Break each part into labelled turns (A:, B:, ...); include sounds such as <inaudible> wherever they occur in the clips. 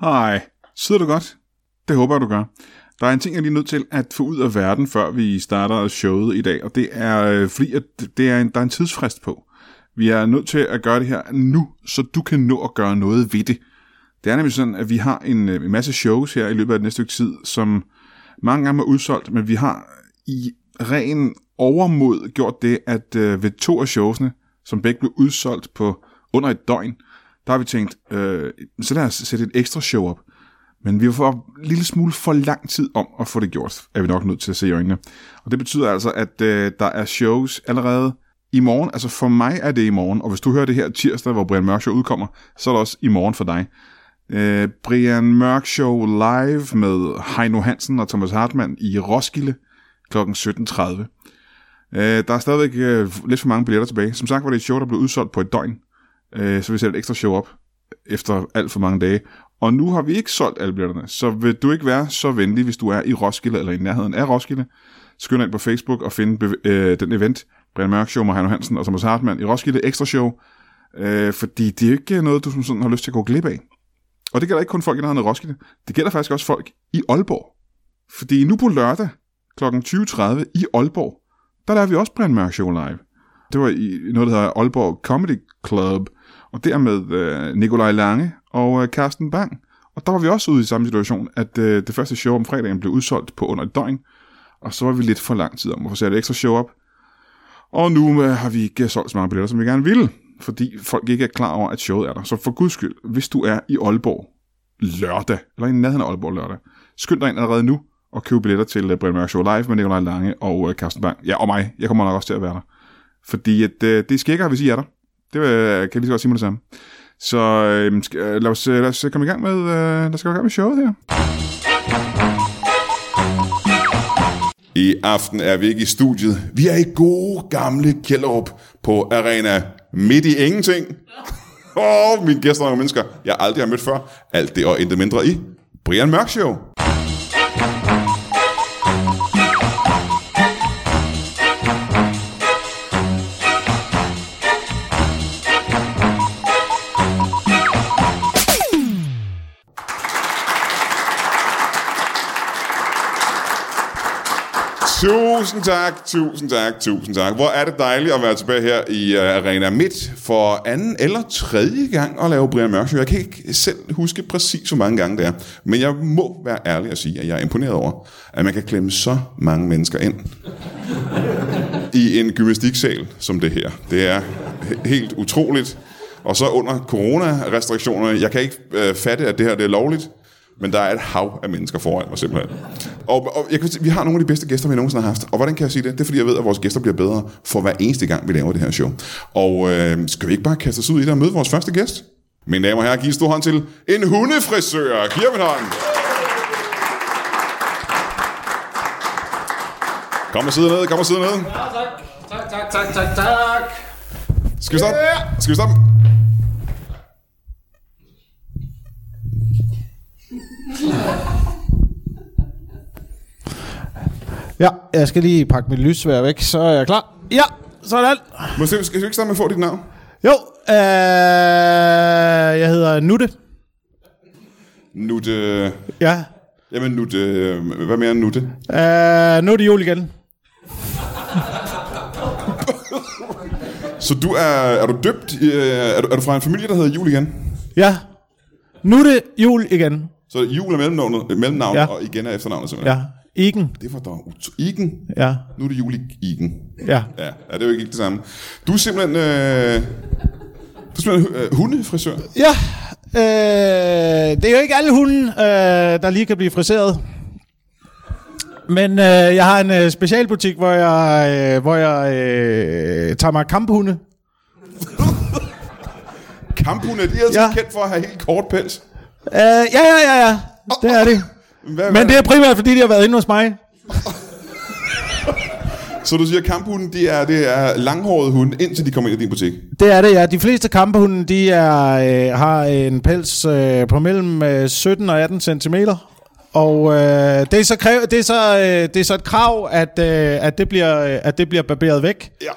A: Hej, sidder du godt? Det håber jeg, du gør. Der er en ting, jeg lige er nødt til at få ud af verden, før vi starter showet i dag, og det er øh, fordi, at det er en, der er en tidsfrist på. Vi er nødt til at gøre det her nu, så du kan nå at gøre noget ved det. Det er nemlig sådan, at vi har en, øh, en masse shows her i løbet af den næste stykke tid, som mange gange er udsolgt, men vi har i ren overmod gjort det, at øh, ved to af showsene, som begge blev udsolgt på under et døgn, der har vi tænkt, øh, så lad os sætte et ekstra show op. Men vi får en lille smule for lang tid om at få det gjort, er vi nok nødt til at se i øjnene. Og det betyder altså, at øh, der er shows allerede i morgen. Altså for mig er det i morgen, og hvis du hører det her tirsdag, hvor Brian Mørk Show udkommer, så er det også i morgen for dig. Øh, Brian Mørk Show live med Heino Hansen og Thomas Hartmann i Roskilde kl. 17.30. Øh, der er stadigvæk øh, lidt for mange billetter tilbage. Som sagt var det et show, der blev udsolgt på et døgn, øh, så vi sætter et ekstra show op efter alt for mange dage. Og nu har vi ikke solgt alle billetterne, så vil du ikke være så venlig, hvis du er i Roskilde eller i nærheden af Roskilde. Skynd dig ind på Facebook og find bev- øh, den event, Brian Mørk Show med Heino Hansen og Thomas Hartmann i Roskilde Ekstra Show, øh, fordi det er jo ikke noget, du som sådan har lyst til at gå glip af. Og det gælder ikke kun folk i nærheden af Roskilde, det gælder faktisk også folk i Aalborg. Fordi nu på lørdag kl. 20.30 i Aalborg, der laver vi også Brian Mørk Show live. Det var i noget, der hedder Aalborg Comedy Club, og der med øh, Nikolaj Lange og øh, Carsten Bang. Og der var vi også ude i samme situation, at øh, det første show om fredagen blev udsolgt på under et døgn, og så var vi lidt for lang tid om at få sat et ekstra show op. Og nu øh, har vi ikke solgt så mange billetter, som vi gerne ville, fordi folk ikke er klar over, at showet er der. Så for guds skyld, hvis du er i Aalborg lørdag, eller i nærheden af Aalborg lørdag, skynd dig ind allerede nu og køb billetter til øh, Brian Mørk Show Live med Nikolaj Lange og øh, Carsten Bang. Ja, og mig. Jeg kommer nok også til at være der. Fordi at, øh, det er skækker, hvis I er der. Det øh, kan jeg lige så godt sige mig det samme. Så øh, sk- øh, lad, os, øh, lad os komme i gang med, øh, lad os komme i gang med showet her.
B: I aften er vi ikke i studiet. Vi er i gode gamle Kjellerup på Arena Midt i Ingenting. <laughs> Åh, oh, mine gæster og mennesker, jeg aldrig har mødt før. Alt det og intet mindre i Brian Mørk Show. Tusind tak, tusind tak, tusind tak. Hvor er det dejligt at være tilbage her i øh, Arena Midt for anden eller tredje gang at lave Brian Mørk Show. Jeg kan ikke selv huske præcis, hvor mange gange det er. Men jeg må være ærlig og sige, at jeg er imponeret over, at man kan klemme så mange mennesker ind i en gymnastiksal som det her. Det er he- helt utroligt. Og så under coronarestriktionerne, jeg kan ikke øh, fatte, at det her det er lovligt, men der er et hav af mennesker foran mig simpelthen. Og, og jeg kan, sige, vi har nogle af de bedste gæster, vi nogensinde har haft. Og hvordan kan jeg sige det? Det er fordi, jeg ved, at vores gæster bliver bedre for hver eneste gang, vi laver det her show. Og øh, skal vi ikke bare kaste os ud i det og møde vores første gæst? Mine damer og herrer, giv en stor hånd til en hundefrisør. Giv ham en hånd. Kom og sidde ned, kom og sidde ned.
C: Ja, tak. Tak, tak, tak, tak, tak.
B: Skal vi stoppe? Skal vi stoppe?
D: Ja, jeg skal lige pakke mit lysvær væk, så er jeg klar. Ja, sådan.
B: Måske skal vi ikke starte med at få dit navn?
D: Jo, øh, jeg hedder Nutte.
B: Nutte...
D: Ja,
B: Jamen Nutte... øh, Hvad mere end Nutte?
D: øh, nu er det jul igen.
B: Så du er... Er du døbt? i- øh, Er du, er du fra en familie, der hedder Jul igen?
D: Ja, nu er det jul igen.
B: Så Jul er mellemnavnet, øh, mellemnavn, ja.
D: Ja.
B: og igen er efternavnet simpelthen.
D: Ja, igen.
B: Det var da ut- Igen.
D: Ja,
B: Nu er det Jul i- Igen.
D: ja.
B: Ja, ja, det er jo ikke det samme. Du er simpelthen... Øh, du er simpelthen øh, hundefrisør.
D: Ja, øh, det er jo ikke alle hunde, øh, der lige kan blive friseret. Men øh, jeg har en øh, specialbutik, hvor jeg, øh, hvor jeg øh, tager mig kamphunde.
B: Kamphunde, de er altså
D: Ja.
B: kendt for at have helt kort pels.
D: Øh, ja, ja, ja, ja. Det er det.
B: Hvad,
D: Men det er primært, fordi de har været inde hos mig.
B: Så du siger, at kamphunden, de er, det er langhårede hunde, indtil de kommer ind i din butik.
D: Det er det, ja. De fleste kampehunde, de er, øh, har en pels øh, på mellem øh, 17 og 18 cm. Og øh, det, er så kræv, det, er så, øh, det er så et krav, at, øh, at, det bliver, øh, at det bliver barberet væk.
B: Ja.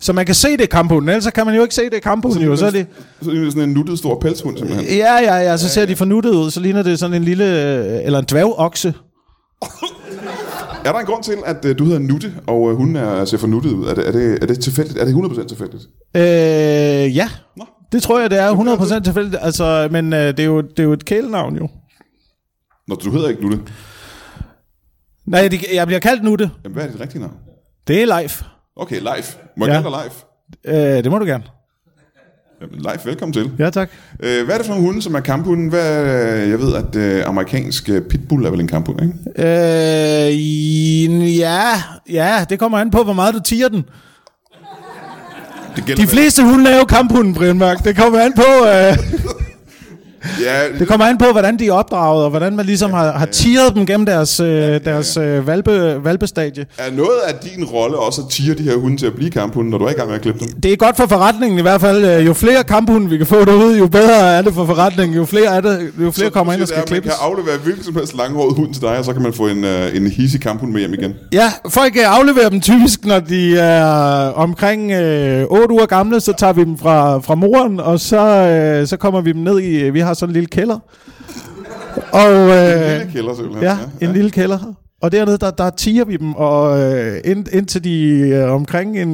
D: Så man kan se det i kamphunden, ellers så kan man jo ikke se det i kamphunden. Jo. Så er det,
A: Så er det sådan en nuttet stor pelshund, simpelthen.
D: ja, ja, ja, så ser de fornuttet ud, så ligner det sådan en lille, øh, eller en dværgokse.
A: Er der en grund til, at øh, du hedder Nutte, og øh, hun er, ser for nuttet ud? Er det, er, det, er det tilfældigt? Er det 100% tilfældigt?
D: Øh, ja, det tror jeg, det er 100% tilfældigt. Altså, men øh, det, er jo, det er jo et kælenavn jo.
A: Nå, du hedder ikke Nutte.
D: Nej, det, jeg bliver kaldt Nutte.
A: Jamen, hvad er dit rigtige navn?
D: Det er live.
A: Okay, Leif. Må jeg
D: Ja.
A: ja. kalde dig Leif?
D: Øh, det må du gerne.
A: Jamen, Leif, velkommen til.
D: Ja, tak.
A: Øh, hvad er det for nogle hunde, som er kamphunden? Hvad, jeg ved, at øh, amerikansk øh, pitbull er vel en kamphund, ikke?
D: Øh, i- ja, ja, det kommer an på, hvor meget du tiger den.
A: Det gælder
D: De
A: vel-
D: fleste hunde er jo kamphunden, Brian Mørk. Det kommer an på, øh,
A: Ja,
D: <laughs> det kommer an på hvordan de er opdraget, og hvordan man ligesom har, har tiret dem gennem deres, øh, deres øh, valpe, valpestadie.
A: er noget af din rolle også at tire de her hunde til at blive kamphunde, når du er i gang med at klippe dem?
D: Det er godt for forretningen i hvert fald. Øh, Jo flere kamphunde vi kan få derude, jo bedre er det for forretningen. Jo flere, er det, jo flere kommer ind og skal
A: klippe.
D: klippes.
A: Man kan aflevere hvilken som helst langhåret hund til dig, og så kan man få en, øh, en hissig kamphund med hjem igen.
D: Ja, folk øh, afleverer dem typisk, når de er omkring øh, 8 uger gamle, så tager vi dem fra, fra moren, og så, øh, så kommer vi dem ned i, vi har sådan en lille kælder. Og, øh,
A: Lille kælder, simpelthen.
D: ja, en lille kælder. Og dernede, der, der tiger vi dem, og øh, ind, indtil de øh, omkring en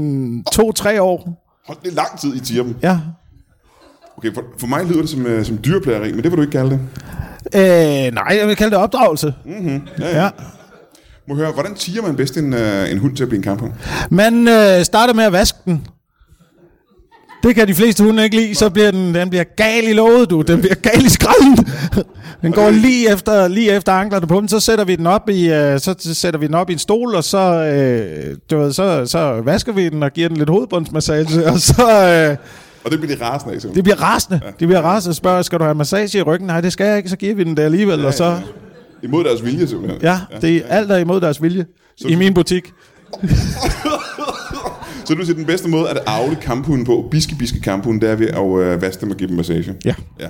D: 2-3 år.
A: Hold det er lang tid, I tirer dem.
D: Ja.
A: Okay, for, for mig lyder det som, øh, som dyreplageri, men det vil du ikke kalde det.
D: Øh, nej, jeg vil kalde det opdragelse.
A: Mhm. Ja. Må jeg høre, hvordan tiger man bedst en, øh, en hund til at blive en kamphund?
D: Man øh, starter med at vaske den. Det kan de fleste hunde ikke lide, så bliver den, den bliver gal i låget, du. Den bliver gal i skralden. Den går lige efter, lige efter anklerne på den, så sætter vi den op i, øh, så så sætter vi den op i en stol, og så, øh, du ved, så, så vasker vi den og giver den lidt hovedbundsmassage, og så, øh,
A: Og det bliver de rasende af, simpelthen.
D: det bliver rasende. De bliver rasende og spørger, skal du have massage i ryggen? Nej, det skal jeg ikke, så giver vi den det alligevel, og så,
A: Imod deres vilje, simpelthen.
D: ja, det er alt der er imod deres vilje i min butik.
A: Så du siger, den bedste måde at avle kamphunden på, biske, biske kamphunden, det er ved at øh, vaske dem og give dem massage.
D: Ja.
A: ja.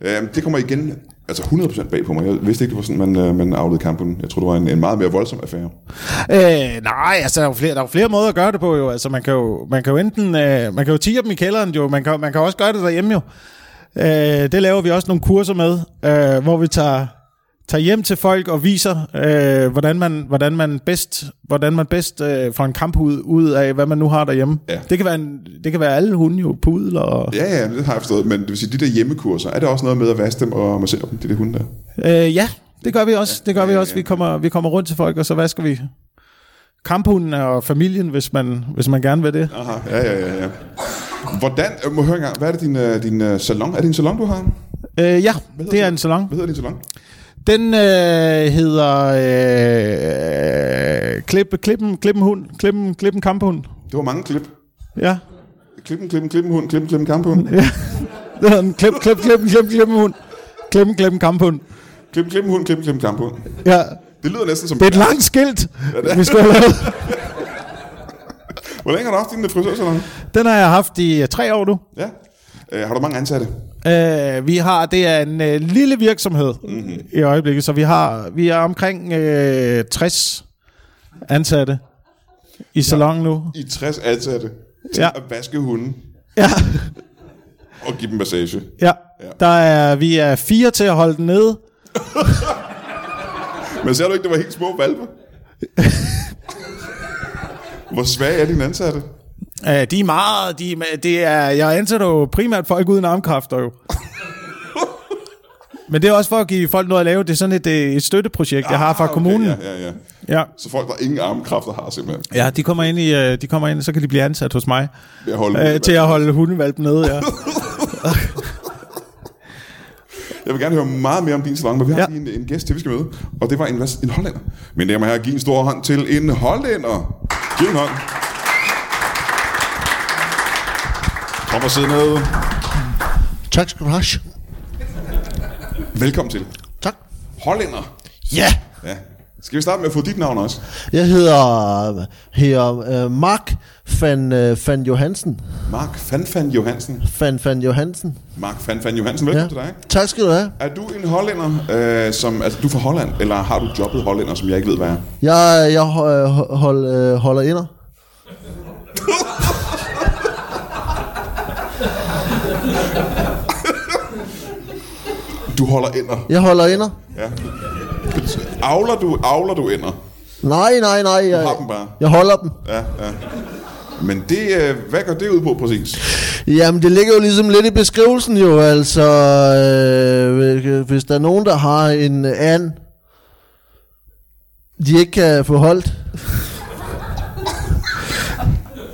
A: Øhm, det kommer igen, altså 100% bag på mig. Jeg vidste ikke, det var sådan, man, øh, man avlede kamphunden. Jeg tror, det var en, en meget mere voldsom affære.
D: Øh, nej, altså, der er, jo flere, der er jo flere måder at gøre det på, jo. Altså, man kan jo, man kan jo enten... Øh, man kan jo tige dem i kælderen, jo. Man kan, man kan også gøre det derhjemme, jo. Øh, det laver vi også nogle kurser med, øh, hvor vi tager, tager hjem til folk og viser, øh, hvordan, man, hvordan man bedst, hvordan man bedst øh, får en kamphud ud af, hvad man nu har derhjemme.
A: Ja.
D: Det, kan være en, det kan være alle hunde, jo. Pudel og...
A: Ja, ja, det har jeg forstået. Men det vil sige, de der hjemmekurser, er det også noget med at vaske dem og massere dem, de der hunde der?
D: Øh, ja, det gør vi også. Det gør vi også. Vi kommer, vi kommer rundt til folk, og så vasker vi kamphunden og familien, hvis man, hvis man gerne vil det.
A: Aha, ja, ja, ja. ja. Hvordan, øh, må jeg høre engang, hvad er det din, øh, din øh, salon? Er det en salon, du har? Hvad
D: Øh, ja, det er
A: den?
D: en salon.
A: hedder din salon?
D: Den øh, hedder øh, klip, klippen, klippen hund, klippen, klippen kamphund.
A: Det var mange klip.
D: Ja,
A: Klippen, klippen, klippen, hund, klippen, klippen, kamphund.
D: det hedder den klip, klip, klippen, klip, klippen hund. Klippen, klippen kamphund.
A: Klippen, klippen, hund, klippen, klippen, kamphund.
D: Ja,
A: Det lyder næsten som...
D: det er et langt skilt, vi skulle have lavet.
A: Hvor længe har du haft din øh, frisørsalon?
D: Den har jeg haft i øh, tre år nu.
A: Ja. Øh, har du mange ansatte?
D: Øh, vi har, det er en øh, lille virksomhed
A: Mhm.
D: mm-hmm. i øjeblikket, så vi har, vi er omkring øh, 60 ansatte i salongen nu.
A: I er 60 ansatte til
D: Ja.
A: ja. at vaske hunden
D: Ja,
A: og give dem massage.
D: ja.
A: Ja.
D: Der er, vi er fire til at holde den nede.
A: Men ser du ikke, det var helt små
D: <laughs>
A: valpe? Hvor svage er dine ansatte?
D: Uh, de er meget, de, er ma- det er, jeg ansætter jo primært folk uden armkræfter jo. Men det er også for at give folk noget at lave. Det er sådan et, øh, et støtteprojekt, jeg har fra
A: Ah, okay,
D: kommunen.
A: Ja, ja, ja.
D: ja.
A: Så folk, der ingen armkræfter har simpelthen.
D: ja. ja, de kommer ind i, øh, de kommer ind, og så kan de blive ansat hos mig.
A: Ved at holde
D: øh, til at holde hundevalpen nede,
A: <laughs>
D: ja.
A: Jeg vil gerne høre meget mere om din salon, men vi har
D: Ja.
A: ja. lige en, en gæst til, vi skal møde. Og det var en, hvad- en hollænder. Men det må jeg give en stor hånd til en hollænder. Giv en hånd. Kom og sidde ned.
E: Tak skal du have.
A: Velkommen til.
E: Tak.
A: Hollænder.
E: Ja,
A: Ja. Skal vi starte med at få dit navn også?
E: jeg hedder, hedder øh, Mark van, øh, van Johansen.
A: Mark Fanfan Johansen.
E: Van, van Johansen.
A: Mark Fanfan Johansen, velkommen ja. til dig.
E: Tak skal du have.
A: Er du en hollænder, øh, som, altså du er fra Holland, eller har du jobbet hollænder, som jeg ikke ved, hvad er?
E: Jeg, jeg ho- øh, hold, øh, holder inder.
A: Du holder ender.
E: Jeg holder ender.
A: Ja. Avler du, avler du ender?
E: Nej, nej, nej. Jeg,
A: har dem bare.
E: jeg holder dem.
A: Ja, ja. Men det, øh, hvad går det ud på præcis?
E: Jamen, det ligger jo ligesom lidt i beskrivelsen jo, altså, øh, hvis der er nogen, der har en øh, and, de ikke kan få holdt,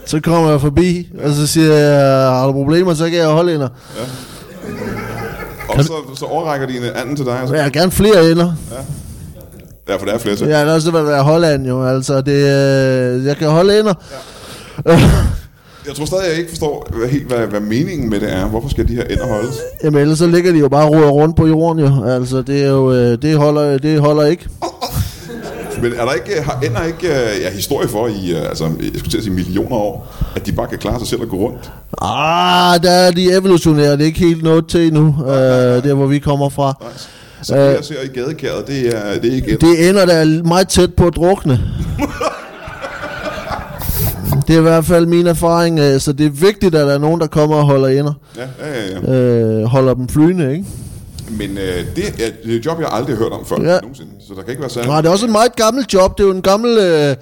E: så kommer jeg forbi, og så siger jeg, har du problemer, så kan jeg holde ender.
A: Og så, så overrækker de en anden til dig. Altså.
E: Men jeg har gerne flere ender.
A: Ja, for der er flere til.
E: Jeg har også været være Holland jo, altså, det, øh, jeg kan holde ender. Ja.
A: Jeg tror stadig, jeg ikke forstår hvad- helt, hvad, hvad meningen med det er. Hvorfor skal de her ender holdes?
E: Jamen ellers så ligger de jo bare og roder rundt på jorden jo. Altså det er jo, øh, det holder, det holder ikke.
A: Men er der ikke, har ender ikke øh, ja, historie for i, øh, altså, jeg skulle til at sige millioner år, at de bare kan klare sig selv og gå rundt?
E: Ah, der er de evolutionære, det er ikke helt noget til endnu, øh, der hvor vi kommer fra.
A: Så det, jeg ser i gadekæret, det er, det er ikke ender.
E: Det ender der meget tæt på at drukne. Det er i hvert fald min erfaring, øh, så det er vigtigt, at der er nogen, der kommer og holder ender.
A: Ja, ja, ja, ja.
E: Øh, holder dem flydende, ikke?
A: Men øh, det, er, det er et job, jeg aldrig har hørt om før ja.
E: Ja.
A: nogensinde, så der kan ikke være særlig...
E: Nej, det er også et meget gammelt job. Det er jo en gammel... Øh,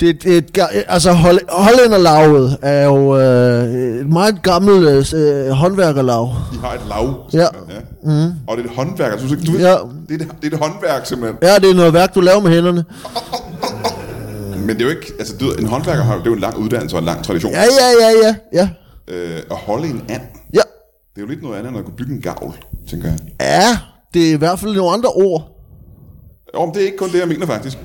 E: det er et, et, ga- altså, hold, hollænderlavet er jo øh, et meget gammelt øh, håndværkerlav.
A: De har et lav,
E: Ja.
A: simpelthen, ja. Mm. Og det er et håndværk, altså, du, du,
E: Ja.
A: det, er, et- det er et håndværk simpelthen.
E: Ja, det er noget værk, du laver med hænderne.
A: Men det er jo ikke, altså du ved, en håndværker har det er jo en lang uddannelse og en lang tradition.
E: Ja, ja, ja, ja, ja.
A: Øh, at holde en and,
E: Ja,
A: det er jo lidt noget andet end at kunne bygge en gavl, tænker jeg.
E: ja det er i hvert fald nogle andre ord.
A: Jo, men det er ikke kun det, jeg mener faktisk.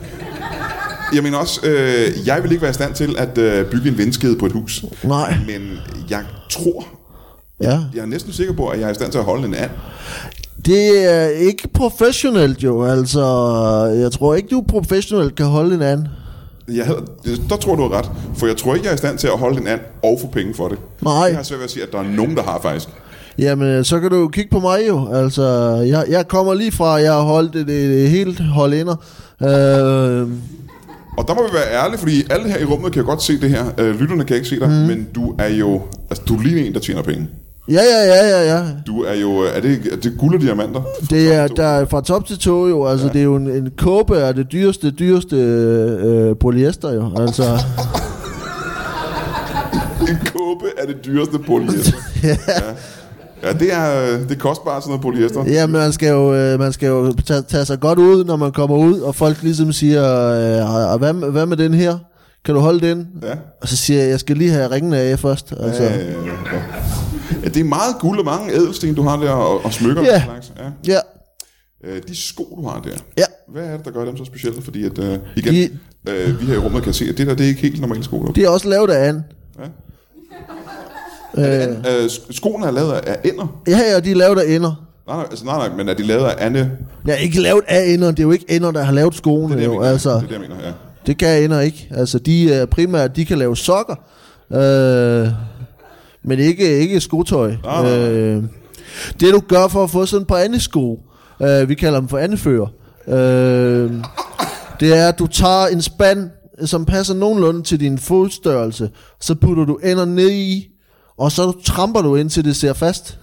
A: Jeg mener også, øh, jeg vil ikke være i stand til at øh, bygge en vindskede på et hus.
E: Nej.
A: Men jeg tror,
E: Ja.
A: jeg er næsten sikker på, at jeg er i stand til at holde en and.
E: Det er ikke professionelt jo, altså. Jeg tror ikke, du professionelt kan holde en anden.
A: Jeg havde, der tror du har ret, for jeg tror ikke, jeg er i stand til at holde en and og få penge for det.
E: Nej.
A: Jeg har svært ved at sige, at der er nogen, der har faktisk.
E: Jamen, øh, så kan du jo kigge på mig jo. Altså, jeg, jeg kommer lige fra, at jeg har holdt det, det, det helt hollænder. Øh,
A: Og der må vi være ærlige, fordi alle her i rummet kan jo godt se det her. Øh, lytterne kan ikke se dig, mm.
E: Mhm.
A: men du er jo... Altså, du er lige en, der tjener penge.
E: ja, ja, ja, ja, ja.
A: Du er jo... øh, Er det, er det guld og diamanter? <laughs>
E: Det er der er fra top til tå jo. Altså, ja. det er jo en, en kåbe er det dyreste, dyreste øh, polyester jo. Altså,
A: En kåbe er det dyreste
E: <laughs>
A: polyester. ja. ja. det er, øh, det er kostbart, sådan noget polyester.
E: ja, man skal jo, øh, man skal jo tage, tage sig godt ud, når man kommer ud, og folk ligesom siger, øh, "Ah, hvad, med- hvad med den her? Kan du holde den?
A: Ja.
E: Og så siger jeg, jeg skal lige have ringene af først. Altså.
A: Ja, ja, ja. ja, det er meget guld og mange ædelsten, du har der, og, og smykker
E: Ja.
A: og den slags. Ja.
E: ja.
A: Øh, de sko, du har der.
E: Ja.
A: Hvad er det, der gør dem så specielle? Fordi at, øh, igen,
E: De-
A: øh, vi her i rummet kan se, at det der, det er ikke helt normale sko. Der.
E: Det er også lavet af an.
A: Øh, sk- skoene er lavet af, af ender.
E: Ja, ja, de er lavet af ender.
A: Nej, nej, altså, nej, nej, men er de lavet af Anne?
E: Ja, ikke lavet af ender. Det er jo ikke ender, der har lavet skoene.
A: Det er det, jeg
E: jo.
A: mener.
E: Altså,
A: Det er det, jeg mener, ja.
E: det kan ender ikke. Altså, de er primært, de kan lave sokker. Øh, men ikke, ikke skotøj.
A: nej, nej.
E: Øh, det du gør for at få sådan et par andesko, øh, vi kalder dem for andefører, øh, det er, at du tager en spand, som passer nogenlunde til din fodstørrelse, så putter du ender ned i, og så tramper du indtil det ser fast.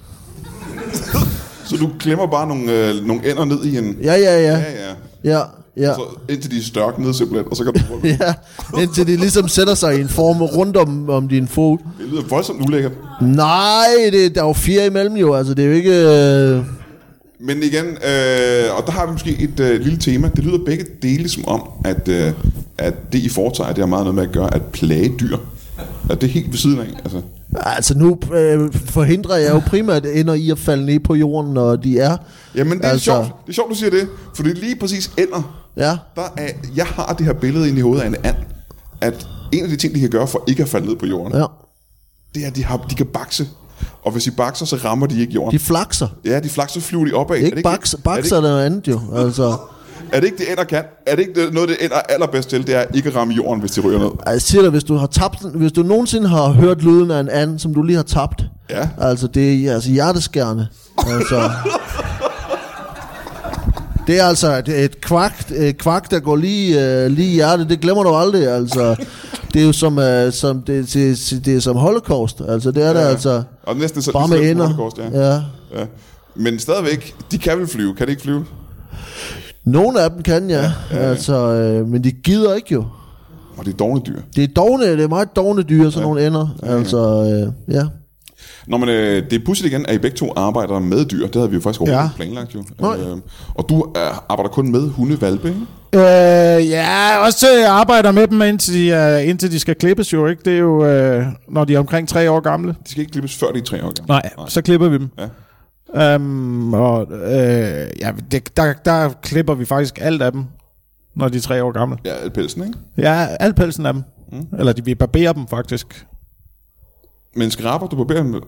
A: Så du klemmer bare nogle, øh, nogle ender ned i en...
E: Ja, ja, ja.
A: Ja, ja.
E: ja, ja.
A: Så indtil de er størknet simpelthen, og så kan du rundt.
E: <laughs> Ja, indtil de ligesom sætter sig i en form rundt om, om din fod.
A: Det lyder voldsomt ulækkert.
E: Nej, det, der er jo fire imellem jo, altså det er jo ikke... Øh,
A: Men igen, øh, og der har vi måske et øh, lille tema. Det lyder begge dele som om, at, øh, at det I foretager, det har meget noget med at gøre at plage dyr. Er det er helt ved siden af? Altså,
E: altså nu øh, forhindrer jeg jo primært ender i at falde ned på jorden, når de er.
A: jamen, det er, altså.
E: altså,
A: sjovt. det er sjovt, du siger det. For det er lige præcis ender.
E: Ja,
A: Der er, jeg har det her billede inde i hovedet af en and, at en af de ting, de kan gøre for ikke at falde ned på jorden,
E: ja.
A: det er, at de, har, de kan bakse. Og hvis de bakser, så rammer de ikke jorden.
E: De flakser.
A: Ja, de flakser flyver de opad.
E: Ikke bakser, bakser
A: Er det
E: eller noget andet jo, altså...
A: ikke, er det ikke det, ender kan? Er det ikke det- noget, det ender allerbedst til? Det er ikke at ramme jorden, hvis de ryger ned.
E: Ej, Jeg siger dig, hvis du har tabt, den- hvis du nogensinde har hørt lyden af en anden, som du lige har tabt,
A: Ja.
E: altså det er altså hjerteskærende. Altså, det er altså et, et kvak, et kvak, der går lige, øh, lige i hjertet. Det glemmer du aldrig, altså. Det er jo som, øh, som, det, det, det er som holocaust, altså det er ja. det altså.
A: Og næsten så,
E: Bare
A: lige
E: med
A: så
E: ender.
A: holocaust, ja.
E: Ja.
A: ja. Men stadigvæk, de kan vel flyve. Kan de ikke flyve?
E: Nogle af dem kan, ja. ja, ja. Altså, øh, men de gider ikke jo.
A: Og det er dårlige dyr.
E: Det er dogne, det er meget dogne dyr, sådan ja. nogle ender. Altså, øh, ja.
A: Nå, men øh, det er pudsigt igen, at I begge to arbejder med dyr. Det havde vi jo faktisk overhovedet ja. planlagt jo.
E: Nej.
A: Øh, og du øh, arbejder kun med hundevalpe, ikke?
D: Øh, ja, også øh, jeg arbejder med dem, indtil de, er, indtil de skal klippes jo, ikke? Det er jo, øh, når de er omkring tre år gamle.
A: De skal ikke klippes før de er tre år gamle.
D: Nej, så klipper vi dem.
A: Ja.
D: Øhm, og, øh, ja, det, der, der klipper vi faktisk alt af dem, når de er tre år gamle.
A: Ja, pelsen, ikke?
D: Ja, alt pelsen af dem. Mm. Eller de, vi barberer dem faktisk.
A: Men skraber du barberer med?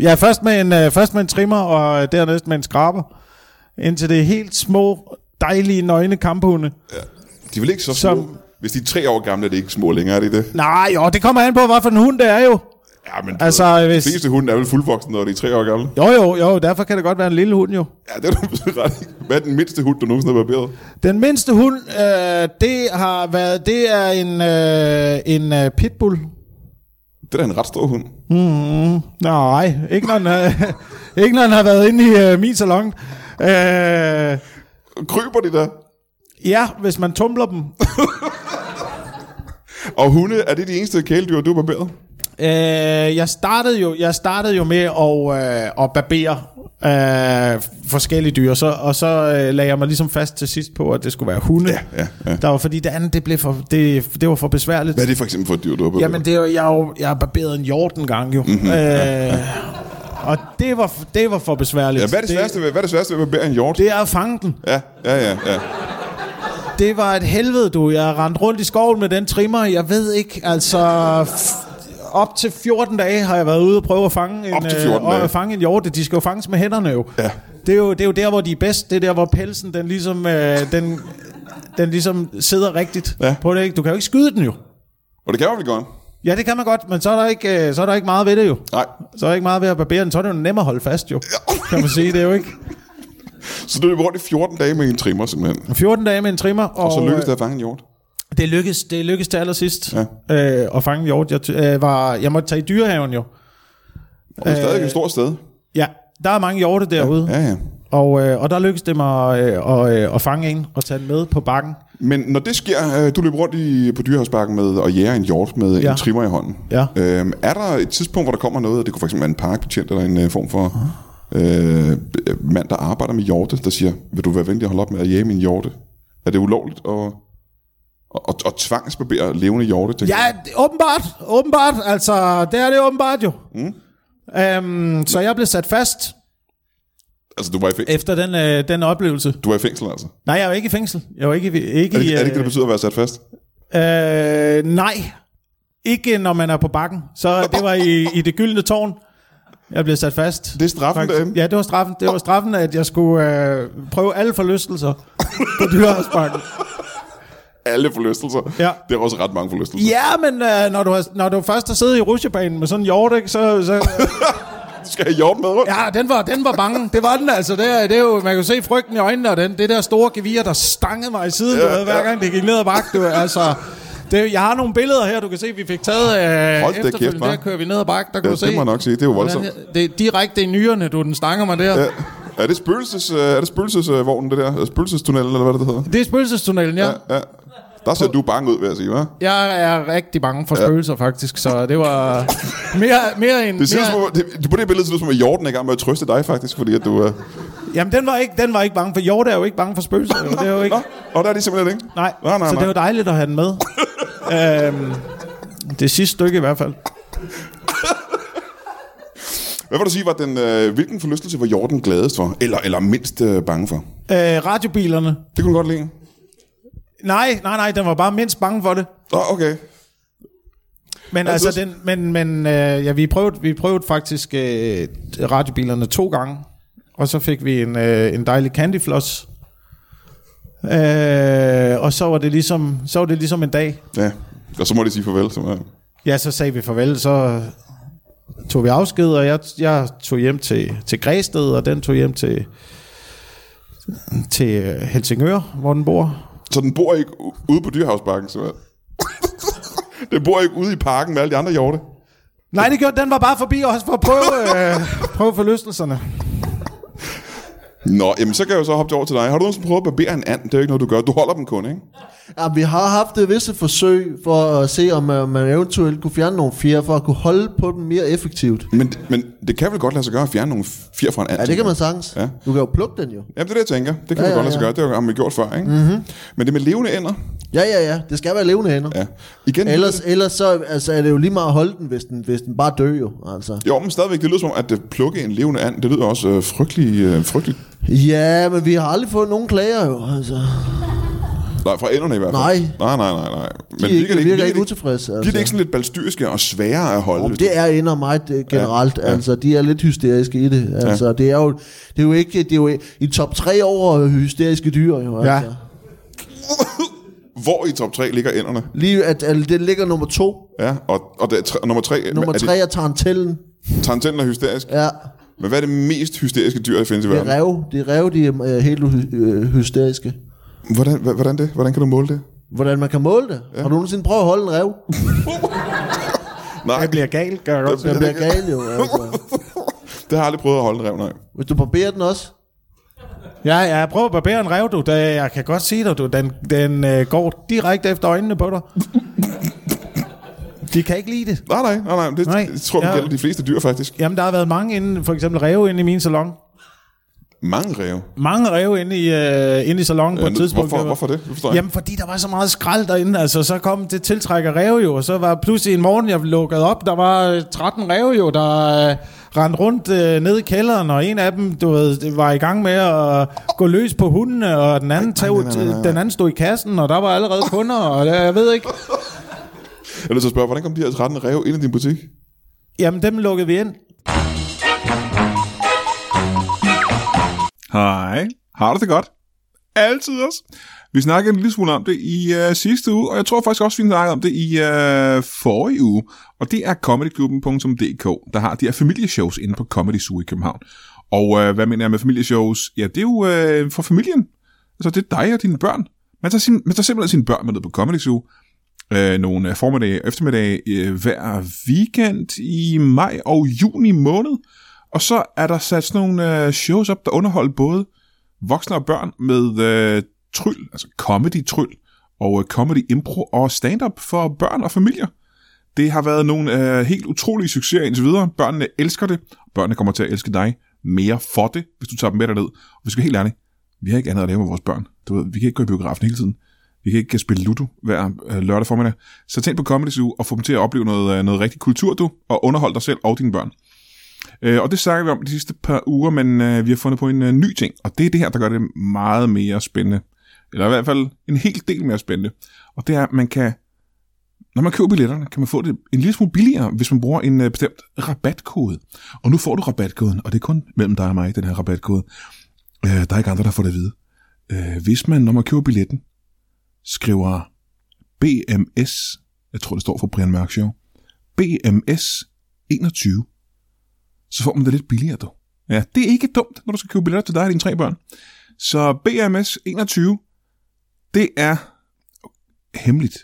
D: Ja, først med en, øh, først med en trimmer, og øh, dernæst med en skraber. Indtil det er helt små, dejlige, nøgne kamphunde.
A: De er vel ikke så små?
D: Som-
A: Som... Hvis de er tre år gamle, er det ikke små længere, er det det?
D: Nej, jo, det kommer an på, hvad for en hund det er jo.
A: Ja, men
D: Altså, hvis-
A: de fleste hunde er vel fuldvoksne, når de er tre år gamle.
D: Jo, jo, jo, derfor kan det godt være en lille hund jo.
A: Ja, det er du ret i. Hvad er den mindste hund, du nogensinde har barberet?
D: Den mindste hund, øh, det har været, det er en, øh, en øh, pitbull.
A: Det er da en ret stor hund.
D: Nej, ikke når den, øh, ikke når den har <laughs> været inde i øh, min salon. Øh,
A: Kryber de der?
D: ja, hvis man tumler dem. <laughs>
A: Og hunde, er det de eneste kæledyr, du har barberet?
D: Øh, jeg, startede jo, jeg startede jo med at, øh, at barbere øh, forskellige dyr, så, og så øh, lagde jeg mig ligesom fast til sidst på, at det skulle være hunde.
A: ja, ja.
D: Der var fordi det andet, det, blev for, det, det var for besværligt.
A: Hvad er det for eksempel for et dyr, du har barberet?
D: Jamen, det er jo, jeg, er jo, jeg har barberet en hjort en gang jo.
A: Mhm.
D: Mm-hmm. Øh, og det var, det var for besværligt.
A: ja, hvad, er det sværeste, ved, hvad er det sværeste ved at barbere en hjort?
D: Det er at fange den.
A: Ja, ja, ja, ja.
D: Det var et helvede, du. Jeg rendte rundt i skoven med den trimmer. Jeg ved ikke, altså... f- Op til 14 dage har jeg været ude og prøve at fange en,
A: Op til
D: øh,
A: 14
D: og-
A: dage.
D: at fange en hjorte. De skal jo fanges med hænderne jo.
A: Ja.
D: Det, er jo. det er jo der, hvor de er bedst. Det er der, hvor pelsen den ligesom, øh, den, den ligesom sidder rigtigt
A: Ja.
D: på det. Ikke? Du kan jo ikke skyde den jo.
A: Og det kan man vel godt?
D: Ja, det kan man godt, men så er der ikke, øh, så er der ikke meget ved det jo.
A: Nej.
D: Så er der ikke meget ved at barbere den. Så er det jo nemmere at holde fast jo. Kan man sige, det er jo ikke.
A: Så du løb rundt i 14 dage med en trimmer, simpelthen.
D: 14 dage med en trimmer. Og,
A: Og så lykkedes
D: øh,
A: det at fange en hjort.
D: Det lykkedes, det lykkedes til allersidst ja. øh, at fange en hjort. Jeg, ty- øh, var, jeg måtte tage i dyrehaven jo.
A: Og det er stadig
D: øh,
A: et stort sted.
D: Ja, der er mange hjorte derude. Ja,
A: Ja,
D: ja.
A: ja.
D: Og, øh, og der lykkedes det mig øh, og, øh, at fange en og tage den med på bakken.
A: Men når det sker, øh, du løber rundt i, på dyrehavsparken med, og jæger en hjort med ja.
D: Ja.
A: en trimmer i hånden.
D: Ja.
A: Øhm, er der et tidspunkt, hvor der kommer noget, og det kunne fx være en parkbetjent eller en øh, form for
D: Ah.
A: øh, b- mand, der arbejder med hjorte, der siger, vil du være venlig at holde op med at jage min hjorte? Er det ulovligt at, at, at, at tvangsbarbere levende hjorte? tænker
D: Ja,
A: jeg?
D: det- åbenbart. Åbenbart. Altså, det er det åbenbart jo. Mm. Øhm, så jeg blev sat fast
A: Altså, du var, i fængsel,
D: efter den, øh, den oplevelse.
A: du var i fængsel, altså.
D: Nej, jeg var ikke i fængsel. Jeg var ikke, i- ikke
A: Er det,
D: i...
A: er det ikke det, det betyder at være sat fast?
D: Øh, nej. Ikke når man er på bakken. Så <laughs> det var i, i det gyldne tårn. Jeg blev sat fast.
A: Det er straffen derinde?
D: Ja, det var straffen. Det var straffen, at jeg skulle øh, prøve alle forlystelser på dyrehavsbakken.
A: Alle forlystelser.
D: Ja.
A: Det er også ret mange forlystelser.
D: <laughs> Ja, men øh, når, du har, når du først har siddet i rusjebanen med sådan en hjort, ikke, så, så...
A: Du skal have hjort med rundt.
D: Ja, den var, den var bange. Det var den altså. Det, er- det er jo, man kunne se frygten i øjnene, og den, det der store gevir, der stangede mig i siden, ja, du ved, hver gang det gik ned ad bakken. Du, altså, det, jeg har nogle billeder her, du kan se, vi fik taget øh,
A: Hold da kæft,
D: efterfølgende.
A: hva'?
D: der kører vi ned ad bakken, der kan
A: Ja,
D: du
A: det
D: se.
A: må jeg nok sige. Det er jo voldsomt.
D: Hvordan- Det er direkte i nyrerne, du den stanger mig der. Ja.
A: Er det spøgelses, øh, er det spøgelsesvognen, det der? Spøgelsestunnelen, eller hvad er det, det hedder?
D: Det er spøgelsestunnelen, ja. ja.
A: Ja. Der ser du bange ud, vil jeg sige, hva'?
D: Jeg er rigtig bange for spøgelser, faktisk, så det var mere, mere end...
A: Det ser ud som,
D: Mere,
A: om- det, på det billede ser det ud som, at Hjorten er i gang med at trøste dig, faktisk, fordi at du øh, er...
D: jamen, den var, ikke, den var ikke bange for. Hjort er jo ikke bange for spøgelser. jo. Det er jo ikke...
A: Nå, og der er de simpelthen ikke.
D: Nej,
A: nej, nej,
D: så
A: nej.
D: det var dejligt at have den med. øhm, det sidste stykke i hvert fald.
A: Hvad vil du sige, var den, øh, hvilken forlystelse var Hjorten gladest for? Eller, eller mindst øh, bange for?
D: Øh, radiobilerne.
A: Det kunne du godt lide.
D: Nej, nej, nej, den var bare mindst bange for det.
A: Nå, okay.
D: Men
A: Altså,
D: altså, den, men, men øh, ja, vi prøvede, vi prøvede faktisk øh, radiobilerne to gange, og så fik vi en, øh, en dejlig candyfloss. Øh, og så var, det ligesom, så var det ligesom en dag.
A: Ja, og så øh. må de sige farvel. Simpelthen.
D: Ja, så sagde vi farvel, så tog vi afsked, og jeg, jeg tog hjem til, til Græsted, og den tog hjem til, til øh, Helsingør, hvor den bor.
A: Så den bor ikke øh. <laughs> u- ude på dyrehavsparken, simpelthen. den bor ikke ude i parken med alle de andre hjorte.
D: Nej, det gjorde, den var bare forbi os for at prøve,
F: <laughs>
D: øh, prøve forlystelserne.
F: Nå, jamen så kan jeg jo så hoppe over til dig. Har du nogensinde prøvet at barbere en and? Det er jo ikke noget, du gør. Du holder dem kun, ikke?
E: Ja, vi har haft det visse forsøg for at se, om øh, man eventuelt kunne fjerne nogle fjer, for at kunne holde på dem mere effektivt.
F: Men, men det kan vel godt lade sig gøre at fjerne nogle fjer fra en and?
E: Ja, det
F: tænker
E: kan man
F: jeg.
E: sagtens.
F: Ja.
E: Ja. Du kan jo plukke den jo.
F: Jamen, det er det, jeg tænker. Det kan ja, man
E: Ja, ja,
F: godt lade sig
E: ja.
F: gøre. Det har man gjort før, ikke? Mm-hmm. Men det med levende ender?
E: Ja, ja, ja. Det skal være levende hænder.
F: Ja. Igen,
E: Ellers, ellers så altså, er det jo lige meget at holde den, hvis den, hvis den bare dør jo. Altså.
F: Jo, men stadigvæk, det lyder som om, at øh, plukke en levende and, det lyder også øh, frygtelig, øh, frygtelig.
E: Ja, men vi har aldrig fået nogen klager jo. Altså.
F: Nej, fra enderne i hvert fald.
E: Nej.
F: Nej, nej, nej, nej. Men
E: De virker,
F: det
E: virker ikke
F: det-
E: utilfredse.
F: Bliver det
E: Altså.
F: ikke sådan lidt balstyrske og sværere at holde?
E: Om
F: hvis
E: det er ender meget øh, generelt,
F: Ja,
E: ja,
F: ja.
E: ja. altså de er lidt hysteriske i det. Altså, ja. det, er jo, det er jo ikke det er jo i- i top 3 over hysteriske dyr jo.
D: Ja.
E: Altså.
F: du- <laughs> Hvor i top 3 ligger enderne?
E: Lige at, at det ligger nummer 2.
F: Ja, og, og det er tre, nummer 3,
E: Nummer
F: er
E: 3 er tarantellen.
F: det tarantellen er hysterisk.
E: Ja,
F: Men hvad er det mest hysteriske dyr, der findes i
E: det er
F: verden?
E: rev. Det er rev, de er øh, helt hy- øh, hysteriske.
F: Hvordan, hva- hvordan det? Hvordan kan du måle det?
E: Hvordan man kan måle det? Ja. Har du nogensinde prøvet at holde en
F: <laughs>
E: rev?
F: Nej,
D: Jeg bliver gal, gør jeg også.
E: Den bliver gal jo. Altså.
F: det har jeg aldrig prøvet at holde en rev, nej.
E: Hvis du barberer den også,
D: Ja, jeg prøver at barbere en rev, du. Det, jeg kan godt sige dig, du. Den, den øh, går direkte efter øjnene på dig. De kan ikke lide det.
F: Nej, nej, nej, nej. Det, nej.
D: Nej.
F: det tror jeg,
D: Ja.
F: ja. gælder de fleste dyr, faktisk.
D: Jamen, der har været mange inde, for eksempel ræve inde i min salon.
F: Mange ræve.
D: Mange ræve inde i, øh, inde i salongen ja, på
F: Ja,
D: et
F: nu-
D: tidspunkt.
F: hvorfor,
D: det var-
F: hvorfor det? Det forstår jeg
D: Jamen, fordi der var så meget skrald derinde, altså, så kom det tiltrækker ræve jo, og så var pludselig en morgen, jeg lukkede op, der var øh, 13 ræve jo, der øh, rendte rundt øh, ned i kælderen, og en af dem, du ved, det var i gang med at gå løs på hundene, og den anden, tog,
F: nej, nej, nej, nej.
D: den anden stod i kassen, og der var allerede kunder, og jeg, jeg ved ikke.
F: Jeg er nødt til at spørge, hvordan kom de her 13 ræve ind i din butik?
D: Jamen, dem lukkede vi ind.
A: Hej. Har du det godt? Altid også. Vi snakkede en lille smule om det i øh, sidste uge, og jeg tror faktisk også, vi snakkede om det i øh, forrige uge. Og det er comedyklubben.dk, der har de her familieshows inde på Comedy Zoo i København. Og øh, hvad mener jeg med familieshows? Ja, det er jo øh, for familien. Altså, det er dig og dine børn. Man tager, sin, man tager simpelthen sine børn med ned på Comedy Zoo, øh, nogle øh, formiddage og eftermiddage øh, hver weekend i maj og juni måned. Og så er der sat sådan nogle øh, shows op, der underholder både voksne og børn med øh, tryl, altså comedy-tryl, og øh, comedy-impro og stand-up for børn og familier. Det har været nogle øh, helt utrolige succeser indtil videre. Børnene elsker det. Børnene kommer til at elske dig mere for det, hvis du tager dem med derned. Og vi skal være helt ærlige, vi har ikke andet at lave med vores børn. Du ved, vi kan ikke gå i biografen hele tiden. Vi kan ikke spille Ludo hver øh, lørdag formiddag. Så tænk på Comedy Zoo og få dem til at opleve noget, øh, noget rigtig kultur, du, og underhold dig selv og dine børn. Øh, og det snakker vi om de sidste par uger, men øh, vi har fundet på en øh, ny ting, og det er det her, der gør det meget mere spændende. Eller i hvert fald en hel del mere spændende. Og det er, at man kan, når man køber billetterne, kan man få det en lille smule billigere, hvis man bruger en øh, bestemt rabatkode. Og nu får du rabatkoden, og det er kun mellem dig og mig, den her rabatkode. Øh, der er ikke andre, der får det at vide. Øh, hvis man, når man køber billetten, skriver BMS, jeg tror det står for Brian Mørk Show, BMS 21 så får man det lidt billigere, du. Ja, det er ikke dumt, når du skal købe billetter til dig og dine tre børn. Så BMS 21, det er hemmeligt.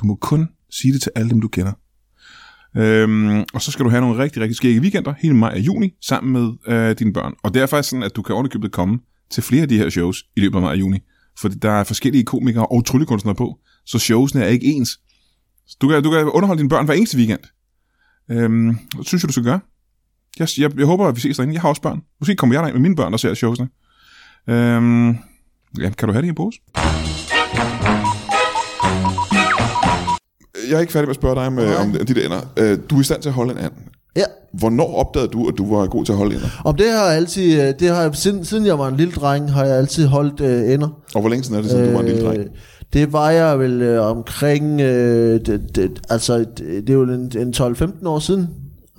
A: Du må kun sige det til alle dem, du kender. Øhm, og så skal du have nogle rigtig, rigtig skægge weekender hele maj og juni sammen med øh, dine børn. Og det er faktisk sådan, at du kan ordentligt komme til flere af de her shows i løbet af maj og juni. Fordi der er forskellige komikere og tryllekunstnere på, så showsene er ikke ens. Så du kan, du kan underholde dine børn hver eneste weekend. Øhm, det synes jeg, du skal gøre. Jeg, jeg, jeg håber, at vi ses derinde. Jeg har også børn. Måske kommer jeg derind med mine børn, der ser showsene. Øhm, ja, kan du have det i en pose?
F: Jeg er ikke færdig med at spørge dig om, øh, om de der ender. Øh, Du er i stand til at holde en and.
E: ja.
F: Hvornår opdagede du, at du var god til at holde ender?
E: Om det har jeg altid, øh, det har jeg, siden, siden jeg var en lille dreng, har jeg altid holdt øh, ender.
F: Og hvor længe siden er det, siden øh, du var en lille dreng?
E: Øh, Det var jeg vel øh, omkring, øh, det, det, altså det, det er jo en, en 12-15 år siden.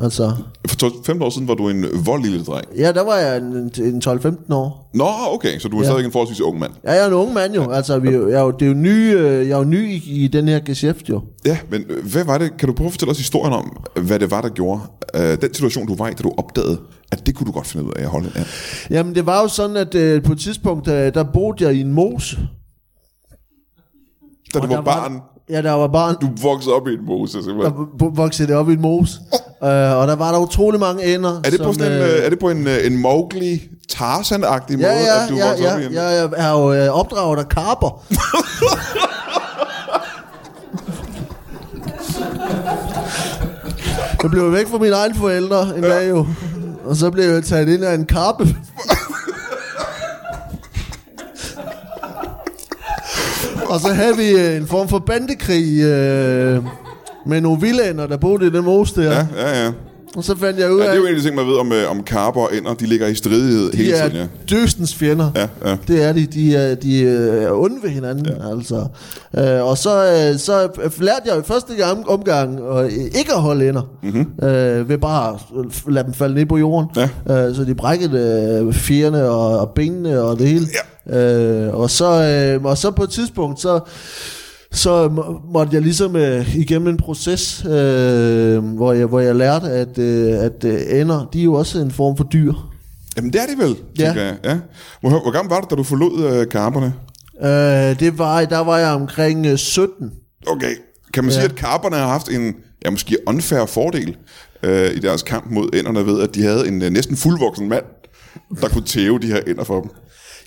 E: Altså,
F: For 12 15 år siden var du en vold lille dreng.
E: ja, der var jeg en, en 12-15 år.
F: Nå, okay, så du er ja. stadigvæk en forholdsvis ung mand.
E: Ja, jeg er en ung mand jo, altså vi, er jo- jeg er jo, det er jo ny, øh, jeg er jo ny i, i den her geschæft jo.
F: Ja, men øh, hvad var det? Kan du prøve at fortælle os historien om, hvad det var, der gjorde øh, den situation, du var i, da du opdagede, at det kunne du godt finde ud af at holde en and?
E: Jamen det var jo sådan, at øh, på et tidspunkt, øh, der boede jeg i en mose.
F: Da du
E: Og
F: var
E: der var-
F: barn,
E: Ja, der var barn.
F: du voksede op i en mose, simpelthen.
E: Der voksede det op i en mose. Øh, og der var der utrolig mange ender.
A: Er det, på sådan en, øh, er det på en, øh, en Mowgli Tarzan-agtig
E: Ja,
A: måde,
E: ja,
A: at du
E: ja,
A: voksede op i
E: ja,
A: en-
E: ja, jeg er jo øh, opdraget af
A: <laughs>
E: karper. jeg blev væk fra mine egne forældre en dag jo, og så blev jeg taget ind af en
A: <laughs>
E: karpe. og så havde vi øh, en form for bandekrig øh, med nogle villaner, der boede i den mos der.
A: Ja,
E: Ja.
A: ja, ja.
E: Og så fandt jeg ud
A: ja,
E: af,
A: det er jo en af de ting, man ved om, øh, om karper og ender. De ligger i stridighed hele
E: de er
A: tiden, ja.
E: døstens fjender.
A: Ja, ja.
E: Det er de. De er, de øh, er onde ved hinanden, ja. altså. Øh, og så, øh, så lærte jeg i første gang- omgang øh, ikke at holde ender.
A: Mhm.
E: Mm-hmm. Øh, ved bare at f- lade dem falde ned på jorden. Ja. Øh, så de brækkede øh, fjerne og, og benene og det hele. Ja. Øh, og, så, øh, og så på et tidspunkt, så så må- måtte jeg ligesom øh, igennem en proces, øh, hvor, jeg, hvor jeg lærte, at, øh, at øh, ender, de er jo også en form for dyr.
A: Jamen, det er det vel,
E: Ja.
A: tænker jeg. Ja. Må jeg høre, Hvor gammel var du, da du forlod øh, karperne?
E: Øh, det var, der var jeg omkring øh, 17.
A: Okay. Kan man ja. sige, at karperne har haft en, ja, måske unfair fordel øh, i deres kamp mod ænderne ved, at de havde en øh, næsten fuldvoksen mand, der kunne tæve de her ænder for dem?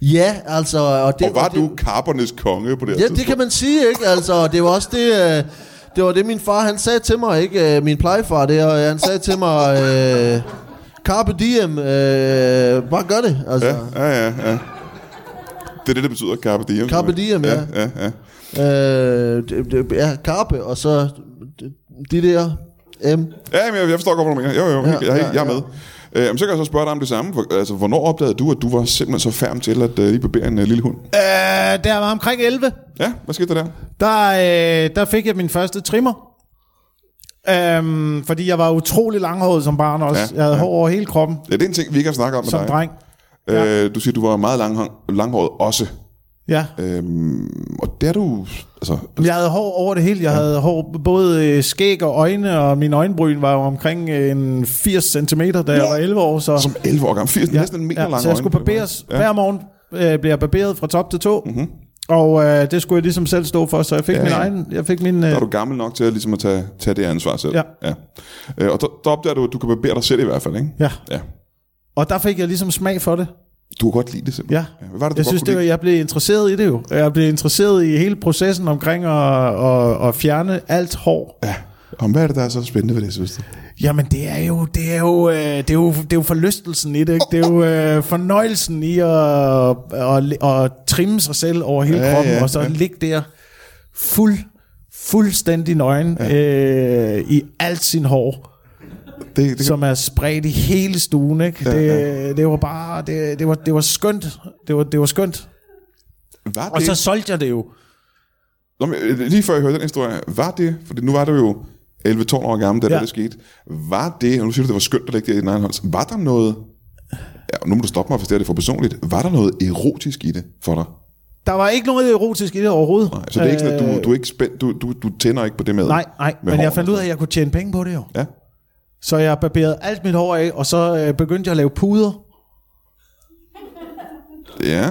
E: Ja, altså... Og, det,
A: Og var
E: og det,
A: du karpernes konge på det her
E: Ja, det
A: tidspunkt?
E: kan man sige, ikke? Altså, det var også det... Øh, det var det, min far, han sagde til mig, ikke? Øh, Min plejefar der, og han sagde til mig... Øh, Carpe diem, øh, bare gør det, altså. Ja.
A: Ja, ja, ja. Det er det, det betyder, carpe diem.
E: Carpe diem, ja.
A: ja, ja.
E: Øh, det, det, ja, carpe, og så de der M.
A: Ja, men jeg, jeg forstår godt, hvad du mener. Jo, jo, ja, jeg,
E: ja,
A: jeg, jeg er
E: ja.
A: med. Øh, men så kan jeg så spørge dig om det samme. For, altså, hvornår opdagede du, at du var simpelthen så færm til at øh, lige barbere en øh, lille hund?
D: Øh, der var omkring 11.
A: Ja, hvad skete der der?
D: Der, øh, der fik jeg min første trimmer. Øhm, fordi jeg var utrolig langhåret som barn også.
A: Ja,
D: Ja, jeg havde
A: ja.
D: hår over hele kroppen
A: Ja, det er en ting, vi ikke har snakket om med
D: som
A: dig.
D: dreng.
A: Øh, du siger, du var meget lang, langhåret også.
D: Ja.
A: Øhm, og der er du... Altså,
D: Jeg havde hår over det hele. Jeg havde hår både øh, skæg og øjne, og min øjenbryn var jo omkring øh, en 80 cm, da jeg var 11 år. Så,
A: som 11 år gammel, 80, ja, næsten en meter lang
D: så jeg skulle barberes ja. hver morgen. Øh, blev jeg barberet fra top til tå. Mm-hmm. Og øh, det skulle jeg ligesom selv stå for, så jeg fik ja, min
A: Mhm. ja.
D: egen... Jeg fik min... Øh,
A: Der er du gammel nok til at, ligesom at tage, tage det ansvar selv.
D: Ja.
A: ja. Øh, og der, der opdager du, at du kan barbere dig selv i hvert fald, ikke?
D: ja.
A: ja.
D: Og der fik jeg ligesom smag for det.
A: Du kan godt lide det simpelthen.
D: Ja.
A: Hvad var det, du
D: Jeg
A: godt
D: synes,
A: kunne
D: det var,
A: lide?
D: jeg blev interesseret i det jo. Jeg blev interesseret i hele processen omkring at, at, at fjerne alt hår.
A: Ja. Om hvad er det, der er så spændende ved det, synes du?
D: Jamen, det er jo, det er jo, øh, det er jo, det er jo forlystelsen i det, ikke? Det er jo øh, fornøjelsen i at, at, at, at trimme sig selv over hele
A: Ja,
D: ja, kroppen,
A: ja,
D: ja, og så
A: ja.
D: ja. ligge der fuld, fuldstændig nøgen ja. øh, i alt sin hår.
A: Det, det,
D: som er spredt i hele stuen, ikke? Ja, det, ja. det var bare det, det var det var skønt. Det var det var skønt.
A: var det,
D: Og så solgte jeg det jo.
A: Nå, men, øh, lige før jeg hørte den historie, var det, for nu var du jo 11-12 år gammel, da ja.
D: Ja.
A: det skete, var det, og nu siger du, det var skønt at lægge det i din egen hånd, var der noget, ja, nu må du stoppe mig, hvis det er det for personligt, var der noget erotisk i det for dig?
D: Der var ikke noget erotisk i det overhovedet. Øh,
A: Nej, så det er ikke sådan, at du, du, er ikke spændt, du, du, du tænder ikke på det med
D: Nej, nej,
A: med
D: men jeg
A: hårene. altså.
D: fandt ud af, at jeg kunne tjene penge på det jo.
A: Ja.
D: Så jeg barberede alt mit hår af, og så øh, begyndte jeg at lave puder.
A: Ja.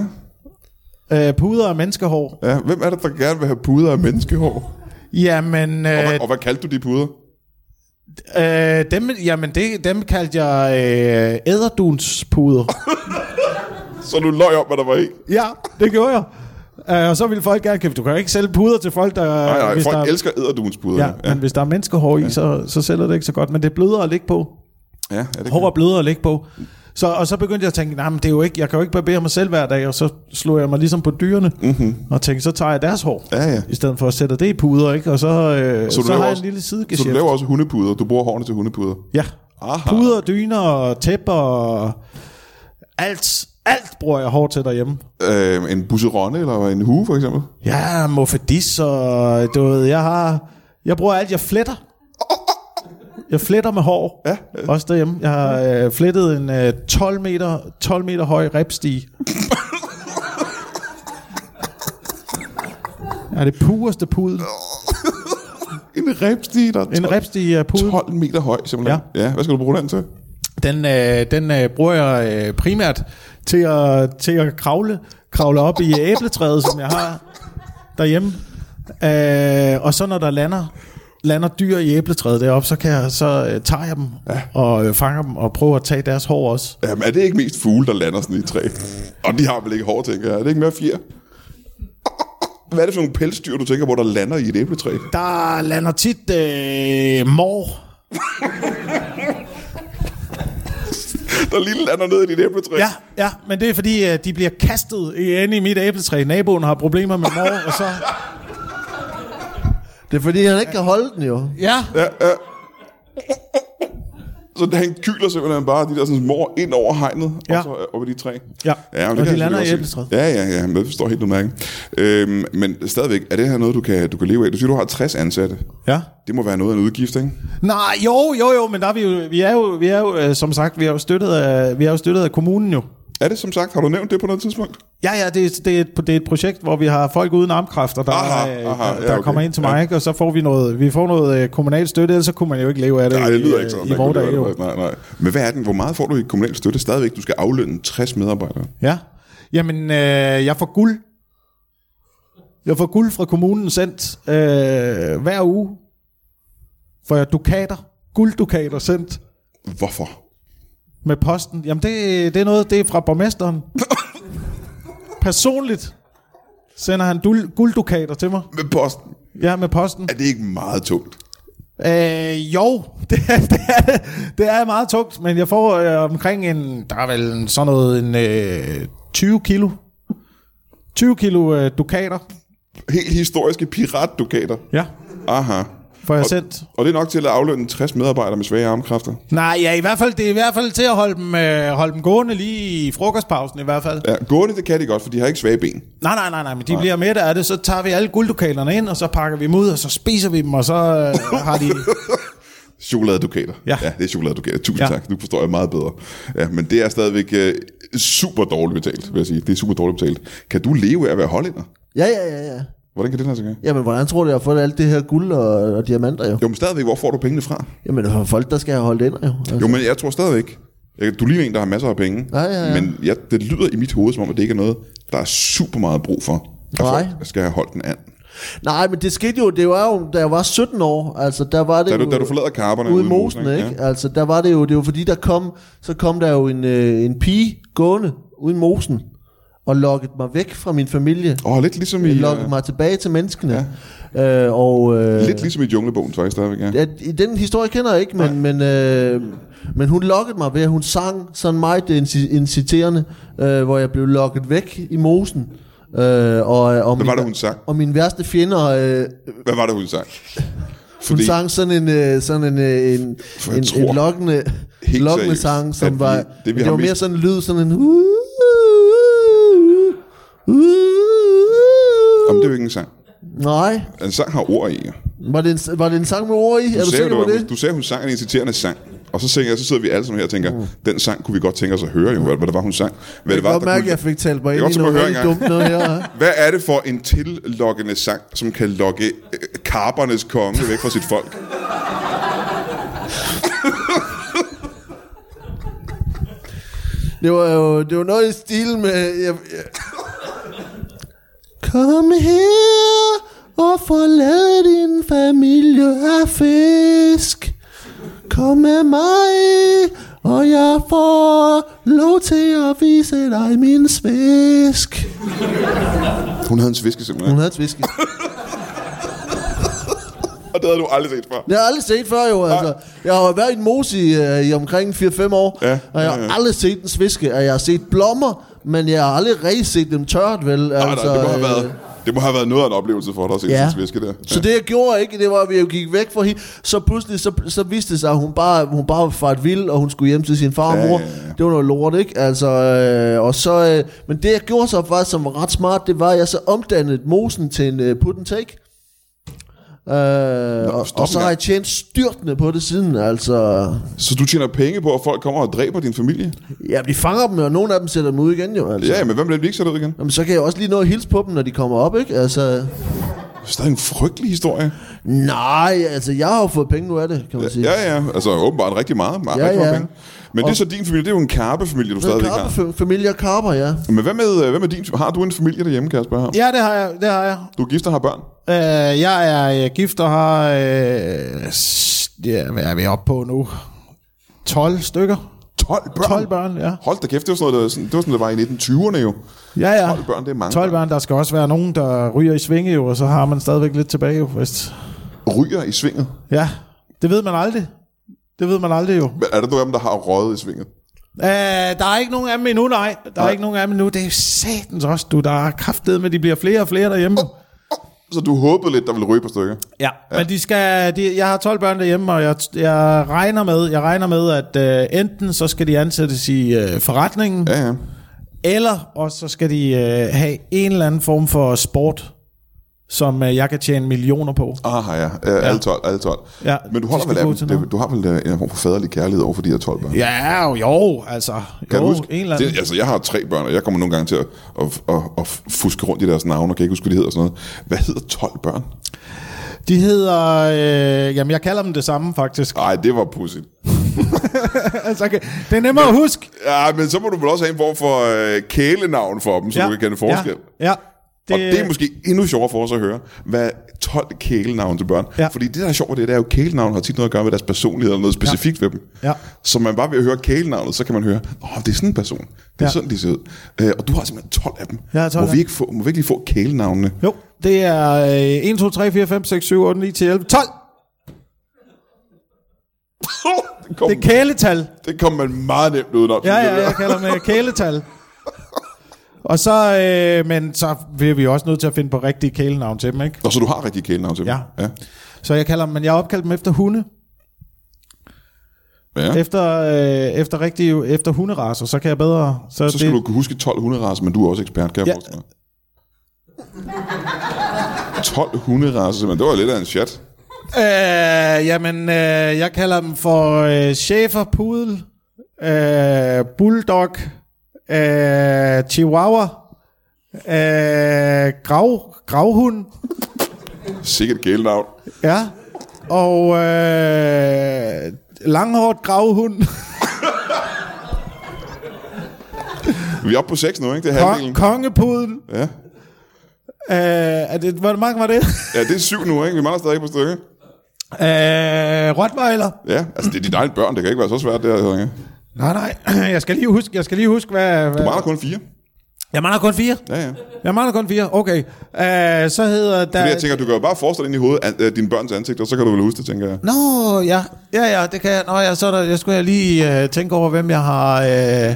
D: Øh, puder af menneskehår.
A: ja. Hvem er det, der gerne vil have puder af menneskehår?
D: Jamen,
A: Og,
D: øh,
A: hvad, og hvad kaldte du de puder?
D: øh, dem, jamen det, dem kaldte jeg
A: <laughs>
D: øh, æderdunspuder.
A: Så du løg om, hvad der var i.
D: ja, det gjorde jeg. Øh, og så ville folk gerne købe. Du kan jo ikke sælge puder til folk, der...
A: Nej, nej,
D: hvis
A: folk
D: der,
A: elsker æderduens puder.
D: Ja, men hvis der er menneskehår i, så, så sælger det ikke så godt. Men det er blødere at ligge på.
A: ja er det ikke
D: Hår er blødere at ligge på. Så, og så begyndte jeg at tænke, nej, men det er jo ikke, jeg kan jo ikke barbere mig selv hver dag, og så slog jeg mig ligesom på dyrene, mm-hmm. og tænkte, så tager jeg deres hår,
A: Mhm. Ja, ja.
D: i stedet for at sætte det i puder, ikke? og så, øh, så,
A: du
D: så
A: laver
D: har jeg
A: også-
D: en lille
A: Så du
D: sidegeschæft.
A: laver også hundepuder. Du bruger hårene til hundepuder.
D: Ja,
A: Aha.
D: puder, dyner og tæpper og alt, alt bruger jeg hår til derhjemme.
A: Øh, en busseronne eller en hue, for eksempel.
D: Ja, mofedis og du ved, jeg har... Jeg bruger alt, jeg fletter. Jeg fletter med hår. Ja. Også derhjemme. Jeg har øh, flettet en øh, 12, meter, 12 meter høj repstige. Ja, det pureste pudel.
A: En repstige, der er
D: En
A: 12,
D: repstige er pudel.
A: 12 meter høj, simpelthen. Ja. ja. Hvad skal du bruge den til?
D: Den, øh, den øh, bruger jeg øh, primært til at, til at kravle, kravle op i æbletræet, som jeg har derhjemme. Øh, og så når der lander lander dyr i æbletræet deroppe, så, kan jeg, så øh, tager jeg dem ja. og øh, fanger dem og prøver at tage deres hår også.
A: Jamen, er det ikke mest fugle, der lander sådan i et træ? Og de har vel ikke hår, tænker jeg. Er det ikke mere fjer? Hvad er det for nogle pelsdyr, du tænker på, der lander i et æbletræ? <laughs>
D: Der lander tit øh, mor.
A: Der lille lander ned i dit æbletræ?
D: Ja, ja, men det er fordi, øh, de bliver kastet ind i mit æbletræ. Naboen har problemer med mor, og så...
A: <laughs>
E: Det er fordi, han ikke kan holde den jo.
D: Ja,
A: Så han kyler simpelthen bare de der sådan mor ind over hegnet, ja.
D: Ja.
A: og så øh, op i de træ.
D: Ja.
A: ja men det
D: Og de
A: kan jeg
D: lander
A: selvfølgelig
D: i
A: godt se.
D: æbletræet.
A: Ja, ja, ja, men det forstår helt udmærket. Øhm, men stadigvæk, er det her noget, du kan, du kan leve af? Du siger, du har 60 ansatte.
D: ja.
A: Det må være noget af en udgift, ikke?
D: Nej, jo, jo, jo, men der er vi, jo, vi er jo, vi er jo øh, som sagt, vi er jo støttet af, vi er jo støttet af kommunen jo.
A: Er det som sagt, har du nævnt det på noget tidspunkt?
D: Ja, ja, det, er- det, er, et, det er et projekt, hvor vi har folk uden armkræfter, der,
A: Aha,
D: øh,
A: aha,
D: der,
A: ja,
D: der
A: okay.
D: kommer ind til
A: Ja.
D: mig, ikke? og så får vi noget, vi får noget øh, kommunal støtte, ellers så kunne man jo ikke leve af det,
A: Nej, det lyder
D: i,
A: ikke sådan.
D: Øh, i
A: Man kunne
D: vores dage
A: leve
D: jo.
A: af det. Nej, nej. Men hvad er den? Hvor meget får du i kommunal støtte? Stadigvæk, du skal aflønne 60 medarbejdere.
D: Ja. Jamen, øh, jeg får guld. Jeg får guld fra kommunen sendt øh, hver uge. Får jeg dukater, gulddukater sendt
A: Hvorfor?
D: med posten. Jamen, det, det er noget, det er fra borgmesteren. Personligt sender han dul, gulddukater til mig.
A: Med posten.
D: Ja, med posten.
A: Er det ikke meget tungt?
D: Øh, jo, <laughs> det er, det, er, det er meget tungt, men jeg får øh, omkring en, der er vel en, sådan noget, en øh, 20 kilo. 20 kilo øh, dukater.
A: Helt historiske piratdukater.
D: Ja.
A: Aha.
D: Får jeg
A: Og-
D: sendt.
A: Og det er nok til at aflønne 60 medarbejdere med svage armkræfter.
D: Nej, ja, i hvert fald, det er i hvert fald til at holde dem, øh, holde dem gående lige i frokostpausen i hvert fald.
A: Ja, gående, det kan de godt, for de har ikke svage ben.
D: Nej, nej, nej, nej, men de bliver med af det, så tager vi alle gulddukalerne ind, og så pakker vi dem ud, og så spiser vi dem, og så øh, har de...
A: <laughs> Chokoladedukater.
D: Ja.
A: ja det er chokoladedukater. Tusind ja.
D: Ja.
A: tak. Nu forstår jeg meget bedre. Ja, men det er stadigvæk øh, super dårligt betalt, vil jeg sige. Det er super dårligt betalt. Kan du leve af at være hollænder?
E: Ja, ja, ja, ja.
A: Hvordan kan det lade sig gøre?
E: Jamen, hvordan tror du, jeg har fået alt det her guld og, og diamanter jo?
A: Jo, men stadigvæk, hvor får du pengene fra?
E: Jamen, det er folk, der skal have holdt ind jo. Altså.
A: Jo, men jeg tror stadigvæk, jeg, du ligner en, der har masser af penge,
E: Ja, ja, ja.
A: men jeg, det lyder i mit hoved, som om, at det ikke er noget, der er super meget brug for. at
E: Nej.
A: folk skal have holdt den an.
E: Nej, men det skete jo, det var jo, da jeg var 17 år, altså der var det
A: Da du,
E: jo,
A: da du forlader karperne
E: ude i mosen, ikke? Ja. Altså der var det jo, det var fordi der kom, så kom der jo en, øh, en pige gående ude i mosen, og lukkede mig væk fra min familie,
A: Åh, lidt ligesom i,
E: lukkede
A: øh,
E: mig tilbage til menneskene, ja. øh, og... Øh,
A: lidt ligesom i junglebogen, faktisk stadigvæk, ja.
E: at, i den historie kender jeg ikke, men, men, øh, men hun lokkede mig ved, at hun sang sådan meget inci- inciterende, øh, hvor jeg blev lokket væk i mosen. Øh, og,
A: Hvad
E: og min,
A: var det, hun sang?
E: Og min værste fjender, øh,
A: Hvad var det, hun sang?
E: hun
A: Fordi-
E: sang sådan en, øh, sådan en, øh, en,
A: jeg
E: en,
A: tror
E: en lokkende,
A: helt
E: lokkende
A: seriøst,
E: sang, som
A: at vi-
E: var,
A: det,
E: det,
A: vi
E: det,
A: har
E: var mere
A: mest-
E: sådan en lyd, sådan en... Uh, uh, uh, uh.
A: Om det er jo ikke en sang.
E: Nej,
A: En sang har ord i. Du
E: var det, en, var det en sang med ord i? Du er du
A: sagde,
E: sikker
A: jo,
E: på
A: det var-
E: det?
A: du sagde, hun sang en inciterende sang. Og så, tænker jeg, så sidder vi alle sammen her og tænker, mm. den sang kunne vi godt tænke os at høre, jo, hvad, hvad det var, hun sang. Hvad det
E: Jeg
A: var,
E: kan godt
A: der
E: mærke,
A: kunne-
E: at jeg fik talt mig
A: Jeg
E: ind
A: kan
E: i
A: godt
E: noget
A: høre
E: rigtig
A: engang.
E: dumt noget her. hva'?
A: Hvad er det for en tillokkende sang, som kan lokke øh, karpernes konge væk fra sit folk?
E: Det var jo det var noget i stil med... Jeg, jeg... Kom her og forlad din familie af fisk. Kom med mig, og jeg får lov til at vise dig min svisk.
A: Hun havde en sviske simpelthen.
E: Hun
A: Mm.
E: havde svisk.
A: Og det havde du aldrig set før.
E: Det har jeg aldrig set før jo, altså. Jeg har jo været i en mose i, øh, i omkring 4-5 år,
A: Ja,
E: og jeg har
A: ja,
E: ja,
A: ja.
E: aldrig set en sviske, og jeg har set blommer, men jeg har aldrig rigtig set dem tørt, vel?
A: Nej, nej, det må have
E: øh,
A: været, det må have været noget af en oplevelse for dig at se ja.
E: Ja.
A: en sviske der.
E: Så det jeg gjorde ikke, det var, at jeg gik væk fra hende. Så pludselig, så, så viste det sig, at hun bare, hun bare var fart vild, og hun skulle hjem til sin far og
A: Ja,
E: mor.
A: ja, ja.
E: Det var noget lort, ikke? Altså, øh, og så, øh, men det jeg gjorde så faktisk, som var ret smart, det var, at jeg så omdannede mosen til en øh, put and take. Øh, og,
A: stop
E: og så
A: engang.
E: har jeg tjent styrtende på det siden, altså...
A: Så du tjener penge på, at folk kommer og dræber din familie?
E: Ja, de fanger dem, og nogle af dem sætter dem ud igen, jo, altså.
A: Ja, men hvem bliver det, vi ikke sat ud igen?
E: Jamen, så kan jeg også lige nå at hilse på dem, når de kommer op, ikke? Altså,
A: Stadig en frygtelig historie.
E: Nej, altså jeg har jo fået penge nu af det, kan man sige.
A: Ja, ja, altså åbenbart rigtig meget. meget
E: Ja,
A: rigtig mange
E: ja.
A: Penge. Men det er så din familie, det er jo en karpefamilie, du stadigvæk har.
E: Karper, familie Karper, ja.
A: Men hvad med, øh, hvad med din, har du en familie derhjemme, Kasper?
D: Ja, det har jeg. Det har jeg.
A: Du er gift og har børn?
D: Øh, jeg er øh, gift og har... Øh, s- ja, hvad er vi oppe på nu? 12 stykker.
A: 12 børn?
D: 12 børn, ja.
A: Hold da kæft, det var sådan noget, der, sådan- det var, sådan, det var i 1920'erne jo.
D: Ja, ja.
A: 12 børn, det er mange
D: 12 børn, der skal også være nogen, der ryger i svinge jo, og så har man stadigvæk lidt tilbage jo. Hvis...
A: Ryger i svinget.
D: Ja, det ved man aldrig. Det ved man aldrig jo.
A: Men Er der nogen af dem, der har røget i svinget?
D: Øh, der er ikke nogen af dem endnu, nej. Der er
A: Nej.
D: ikke nogen af dem endnu. Det er satans også, du. Der er kraftet med, de bliver flere og flere derhjemme.
A: Så du håbede lidt, der ville ryge på stykker?
D: Ja. Men de skal, de, jeg har 12 børn derhjemme, og jeg, jeg, regner med, jeg regner med, at øh, enten så skal de ansættes i øh, forretningen,
A: Ja, ja.
D: Eller også så skal de øh, have en eller anden form for sport, som øh, jeg kan tjene millioner på.
A: Ah, ja. ja. Alle 12, alle 12.
D: Ja,
A: Men du
D: de
A: holder
D: skal
A: vel af
D: gå
A: dem?
D: til
A: Det-
D: noget.
A: Du har vel øh, en eller anden form for faderlig kærlighed over for de her 12 børn?
D: Ja, jo, jo altså. Jo,
A: Kan du huske?
D: En eller anden.
A: Det, altså, jeg har tre børn, og jeg kommer nogle gange til at, at, at, at fuske rundt i deres navne, og kan ikke huske, hvad de hedder og sådan noget. Hvad hedder 12 børn?
D: De hedder... Øh, jamen, jeg kalder dem det samme, faktisk.
A: Nej, det var pudsigt.
D: altså, okay. Det er nemmere at huske.
A: Ja, men så må du vel også have en form for øh, kælenavn for dem, så ja. du kan kende forskel. Ja.
D: Ja. ja.
A: Det... Og det er måske endnu sjovere for os at høre, hvad 12 kælenavn til børn. Ja.
D: Ja.
A: Fordi det, der er sjovt ved det, det er jo, at kælenavn har tit noget at gøre med deres personlighed eller noget specifikt ja. ved dem.
D: Ja.
A: Så man bare ved at høre kælenavnet, så kan man høre, åh, det er sådan en person. Det er ja.
D: Ja.
A: sådan, de ser ud. Øh, og du har simpelthen 12 af dem.
D: Jeg har 12
A: må,
D: af
A: vi
D: dem.
A: ikke få, må vi ikke lige få kælenavnene?
D: Jo, det er øh, 1, 2, 3, 4, 5, 6, 7, 8, 9, 10, 11, 12.
A: det, kom,
D: Det er kæletal.
A: det kom man meget nemt udenom.
D: Ja,
A: synes
D: ja,
A: der.
D: jeg kalder dem øh,
A: <laughs>
D: kæletal. Og så, øh, men så bliver vi også nødt til at finde på rigtige kælenavn til dem, ikke?
A: Nå, så du har rigtig kælenavn til dem?
D: Ja.
A: ja.
D: Så jeg kalder dem, men jeg har opkaldt dem efter hunde.
A: ja.
D: Ja. Efter, øh, efter, rigtige, efter hunderaser, så kan jeg bedre...
A: Så skal det... du kunne huske 12 hunderaser, men du er også ekspert, kan jeg ja.
D: Ja.
A: forestille mig. 12 hunderaser, simpelthen. Det var lidt af en chat.
D: Øh, jamen, øh, jeg kalder dem for øh, chefer, pudel, øh, bulldog, øh, chihuahua, øh, grav, gravhund,
A: Sikkert kælenavn.
D: ja, og øh, langhårdt gravhund,
A: Vi er oppe på 6 nu, ikke? Det er
D: kon-
A: halvdelen.
D: kongepudel.
A: Ja.
D: Øh, er det, hvor mange var det? <laughs>
A: ja, det er 7 nu, ikke? Vi mangler stadig på stykker.
D: øh, Rottweiler.
A: Ja, altså det er dine egne børn. Det kan ikke være så svært, det her. Hedder, ikke?
D: Nej, nej. <clears throat> Jeg skal lige huske, jeg skal lige huske hvad...
A: Du
D: hvad...
A: mangler kun fire.
D: Jeg mangler kun fire.
A: Ja, ja.
D: Jeg mangler kun fire. Okay. Uh, så hedder der...
A: Fordi jeg tænker, du kan jo bare forestille dig ind i hovedet an, øh, dine børns ansigter, så kan du vel huske det, tænker jeg.
D: Nå, ja. Ja, ja, det kan jeg. Nå, ja, så er der, jeg skulle jeg lige uh, tænke over, hvem jeg har... Uh,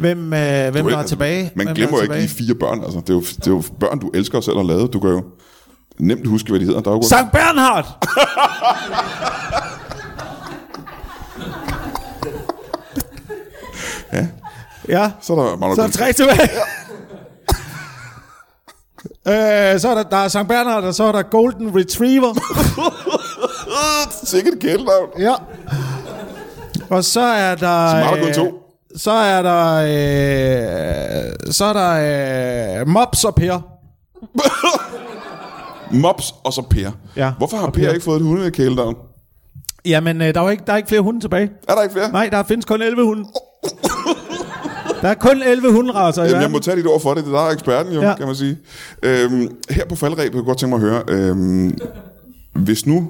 D: hvem, uh, hvem der er tilbage.
A: Man
D: hvem der
A: glemmer
D: er
A: jo ikke
D: tilbage.
A: de fire børn, altså. Det er, jo, det er jo børn, du elsker og selv har lavet. Du kan jo nemt huske, hvad de hedder. Der er jo
D: Sankt Bernhard!
A: <laughs>
D: ja. Ja,
A: Så er der mangler
D: så er
A: kun
D: der
A: <laughs>
D: tre tilbage. øh, så er der, der er Sankt Bernhard, og så er der Golden
A: <laughs>
D: Retriever. <laughs>
A: Sikkert kælenavn.
D: ja. Og så er der... øh,
A: Så mangler kun to.
D: Så er der... Øh, så er der øh, Mops og Per.
A: Mops og så Per.
D: Ja.
A: Hvorfor har
D: Og
A: Per
D: Per.
A: ikke fået et hundekælenavn?
D: Jamen, øh, der, er jo ikke, der er ikke flere hunde tilbage.
A: Er der ikke flere?
D: Nej, der findes kun 11 hunde. Der er kun 11 hunderaser i
A: Jamen, jeg
D: verden.
A: må tage dit ord for det. Det er der er eksperten, jo, ja.
D: Ja.
A: kan man sige. Øhm, her på faldrebet kunne jeg godt tænke mig at høre, øhm, hvis nu,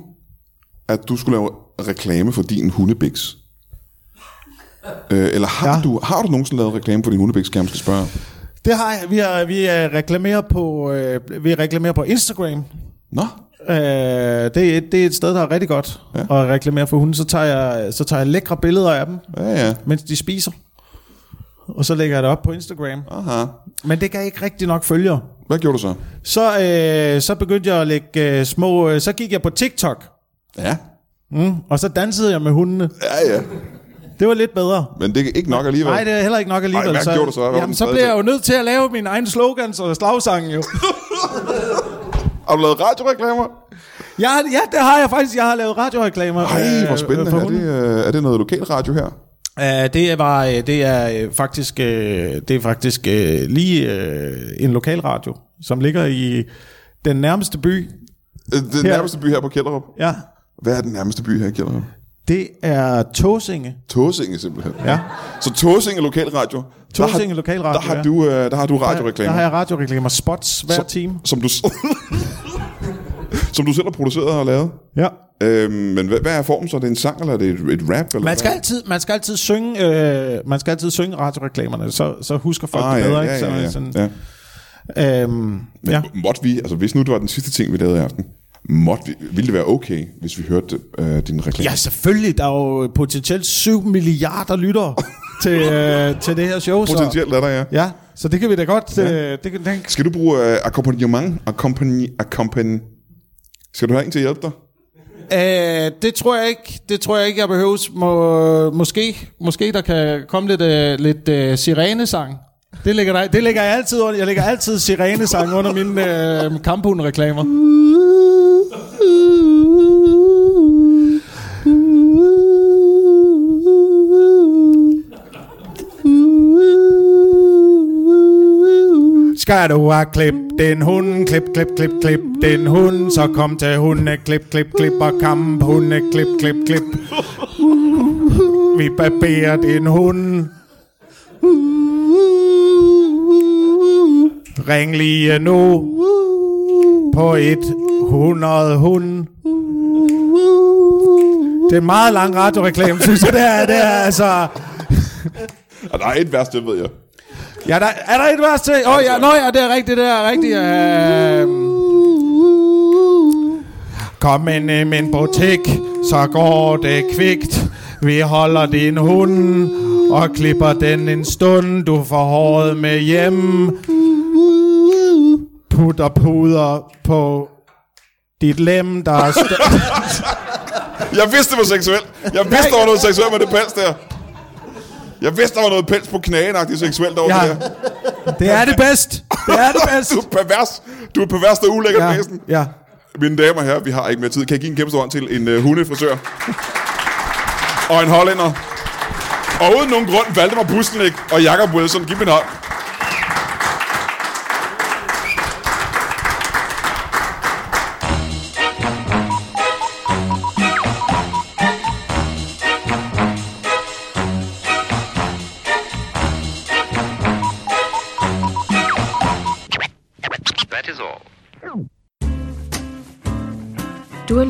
A: at du skulle lave reklame for din hundebiks, øh, eller har, ja.
D: Ja.
A: du, har du nogensinde lavet reklame for din hundebiks, kan jeg måske spørge?
D: Det har jeg. Vi, har, vi øh, reklamerer på, øh, vi reklamerer på Instagram.
A: Nå,
D: Øh, det, er et, det er et sted, der er rigtig godt ja. at reklamere for hunde. Så tager, jeg, så tager jeg lækre billeder af dem,
A: ja, ja.
D: mens de spiser. Og så lægger jeg det op på Instagram.
A: Aha.
D: Men det gav ikke rigtig nok følgere.
A: Hvad gjorde du så?
D: Så, øh, så begyndte jeg at lægge øh, små... Øh, så gik jeg på TikTok,
A: Ja.
D: mm, og så dansede jeg med hundene.
A: Ja, ja.
D: Det var lidt bedre.
A: Men det er ikke nok alligevel.
D: Nej, det er heller ikke nok alligevel.
A: Ej, hvad gjorde du så? Hvad var den
D: Jamen, så
A: tredje
D: bliver jeg
A: ting?
D: jo nødt til at lave mine egne slogans og slagsange jo. <laughs>
A: Har du lavet radioreklamer?
D: Jeg, har- ja, det har jeg faktisk. Jeg har lavet radioreklamer. øh,
A: Ej, hvor spændende.
D: for
A: Er det,
D: hunden.
A: øh, er det noget lokal radio her?
D: Øh, det var, øh, det er øh, faktisk, øh, det er faktisk øh, lige øh, en lokalradio, som ligger i Den nærmeste by,
A: Øh, Den
D: Her.
A: nærmeste by her på Kjellerup.
D: ja,
A: Hvad er den nærmeste by her i Kjellerup?
D: det er Tåsinge.
A: Tåsinge simpelthen.
D: Ja.
A: Så Tåsinge Lokalradio. der
D: Tåsinge
A: har,
D: Lokalradio,
A: der har,
D: ja.
A: du, øh, der har du radioreklamer.
D: Der har jeg radioreklamer, spots hver time.
A: Som du, <laughs> som du selv har produceret og lavet.
D: Ja.
A: Øhm, men hvad, hvad er formen så? Er det en sang, eller er det et, et rap? Eller
D: Man skal
A: hvad?
D: altid, man skal altid synge, øh, man skal altid synge radioreklamerne, så, så husker folk
A: Ah,
D: det
A: ja,
D: bedre.
A: ja,
D: ikke?
A: ja, ja,
D: Så,
A: ja.
D: sådan, øhm, ja.
A: Måtte vi, altså hvis nu det var den sidste ting, vi lavede i aften, måtte vi, ville det være okay, hvis vi hørte øh, din reklame?
D: ja, selvfølgelig. Der er jo potentielt 7 milliarder
A: <laughs>
D: lyttere til, øh, til det her show. Så,
A: Potentielt er der, ja.
D: ja, så det kan vi da godt. Ja. Øh, det, kan, den,
A: Skal du bruge øh, akkompagnement? Accompagn- accompagn... Skal du have en til at hjælpe dig?
D: Øh, det tror jeg ikke. Det tror jeg ikke, jeg behøves. Må, måske, måske der kan komme lidt, øh, lidt øh, sirenesang. Det ligger, der, det ligger jeg altid under. Jeg lægger altid sirenesang under mine øh, kamphundreklamer. Skal du have klip din hund, klip, klip, klip, klip din hund, så kom til hunde, klip, klip, klip og kamp, hunde, klip, klip, klip. Vi barberer din hund. Ring lige nu på et 100 hund. Det er en meget lang radioreklame, synes jeg. Det er, det er altså...
A: Ah, der er et værste, det ved jeg.
D: Ja, der, er der et vers til? Åh, oh, ja, nå ja, det er rigtigt, det er rigtigt. Øh... Kom ind i min butik, så går det kvikt. Vi holder din hund og klipper den en stund. Du får håret med hjem. Putter puder på dit lem, der er st-
A: Jeg vidste, det var seksuelt. Jeg vidste, der var noget seksuelt med det pels der. Jeg vidste, der var noget pels på knagenagtigt seksuelt over ja.
D: ja.
A: det der.
D: Det er det bedst. Det er det bedst.
A: <laughs> Du er pervers. Du er pervers, der ulækker ja.
D: Ja,
A: næsen.
D: ja.
A: Mine damer og herrer, vi har ikke mere tid. Kan jeg give en kæmpe stor hånd til en uh, hundefrisør? og en hollænder. Og uden nogen grund, Valdemar Pustelnik og Jakob Wilson. Giv mig en hånd.
G: That is all.
H: Du har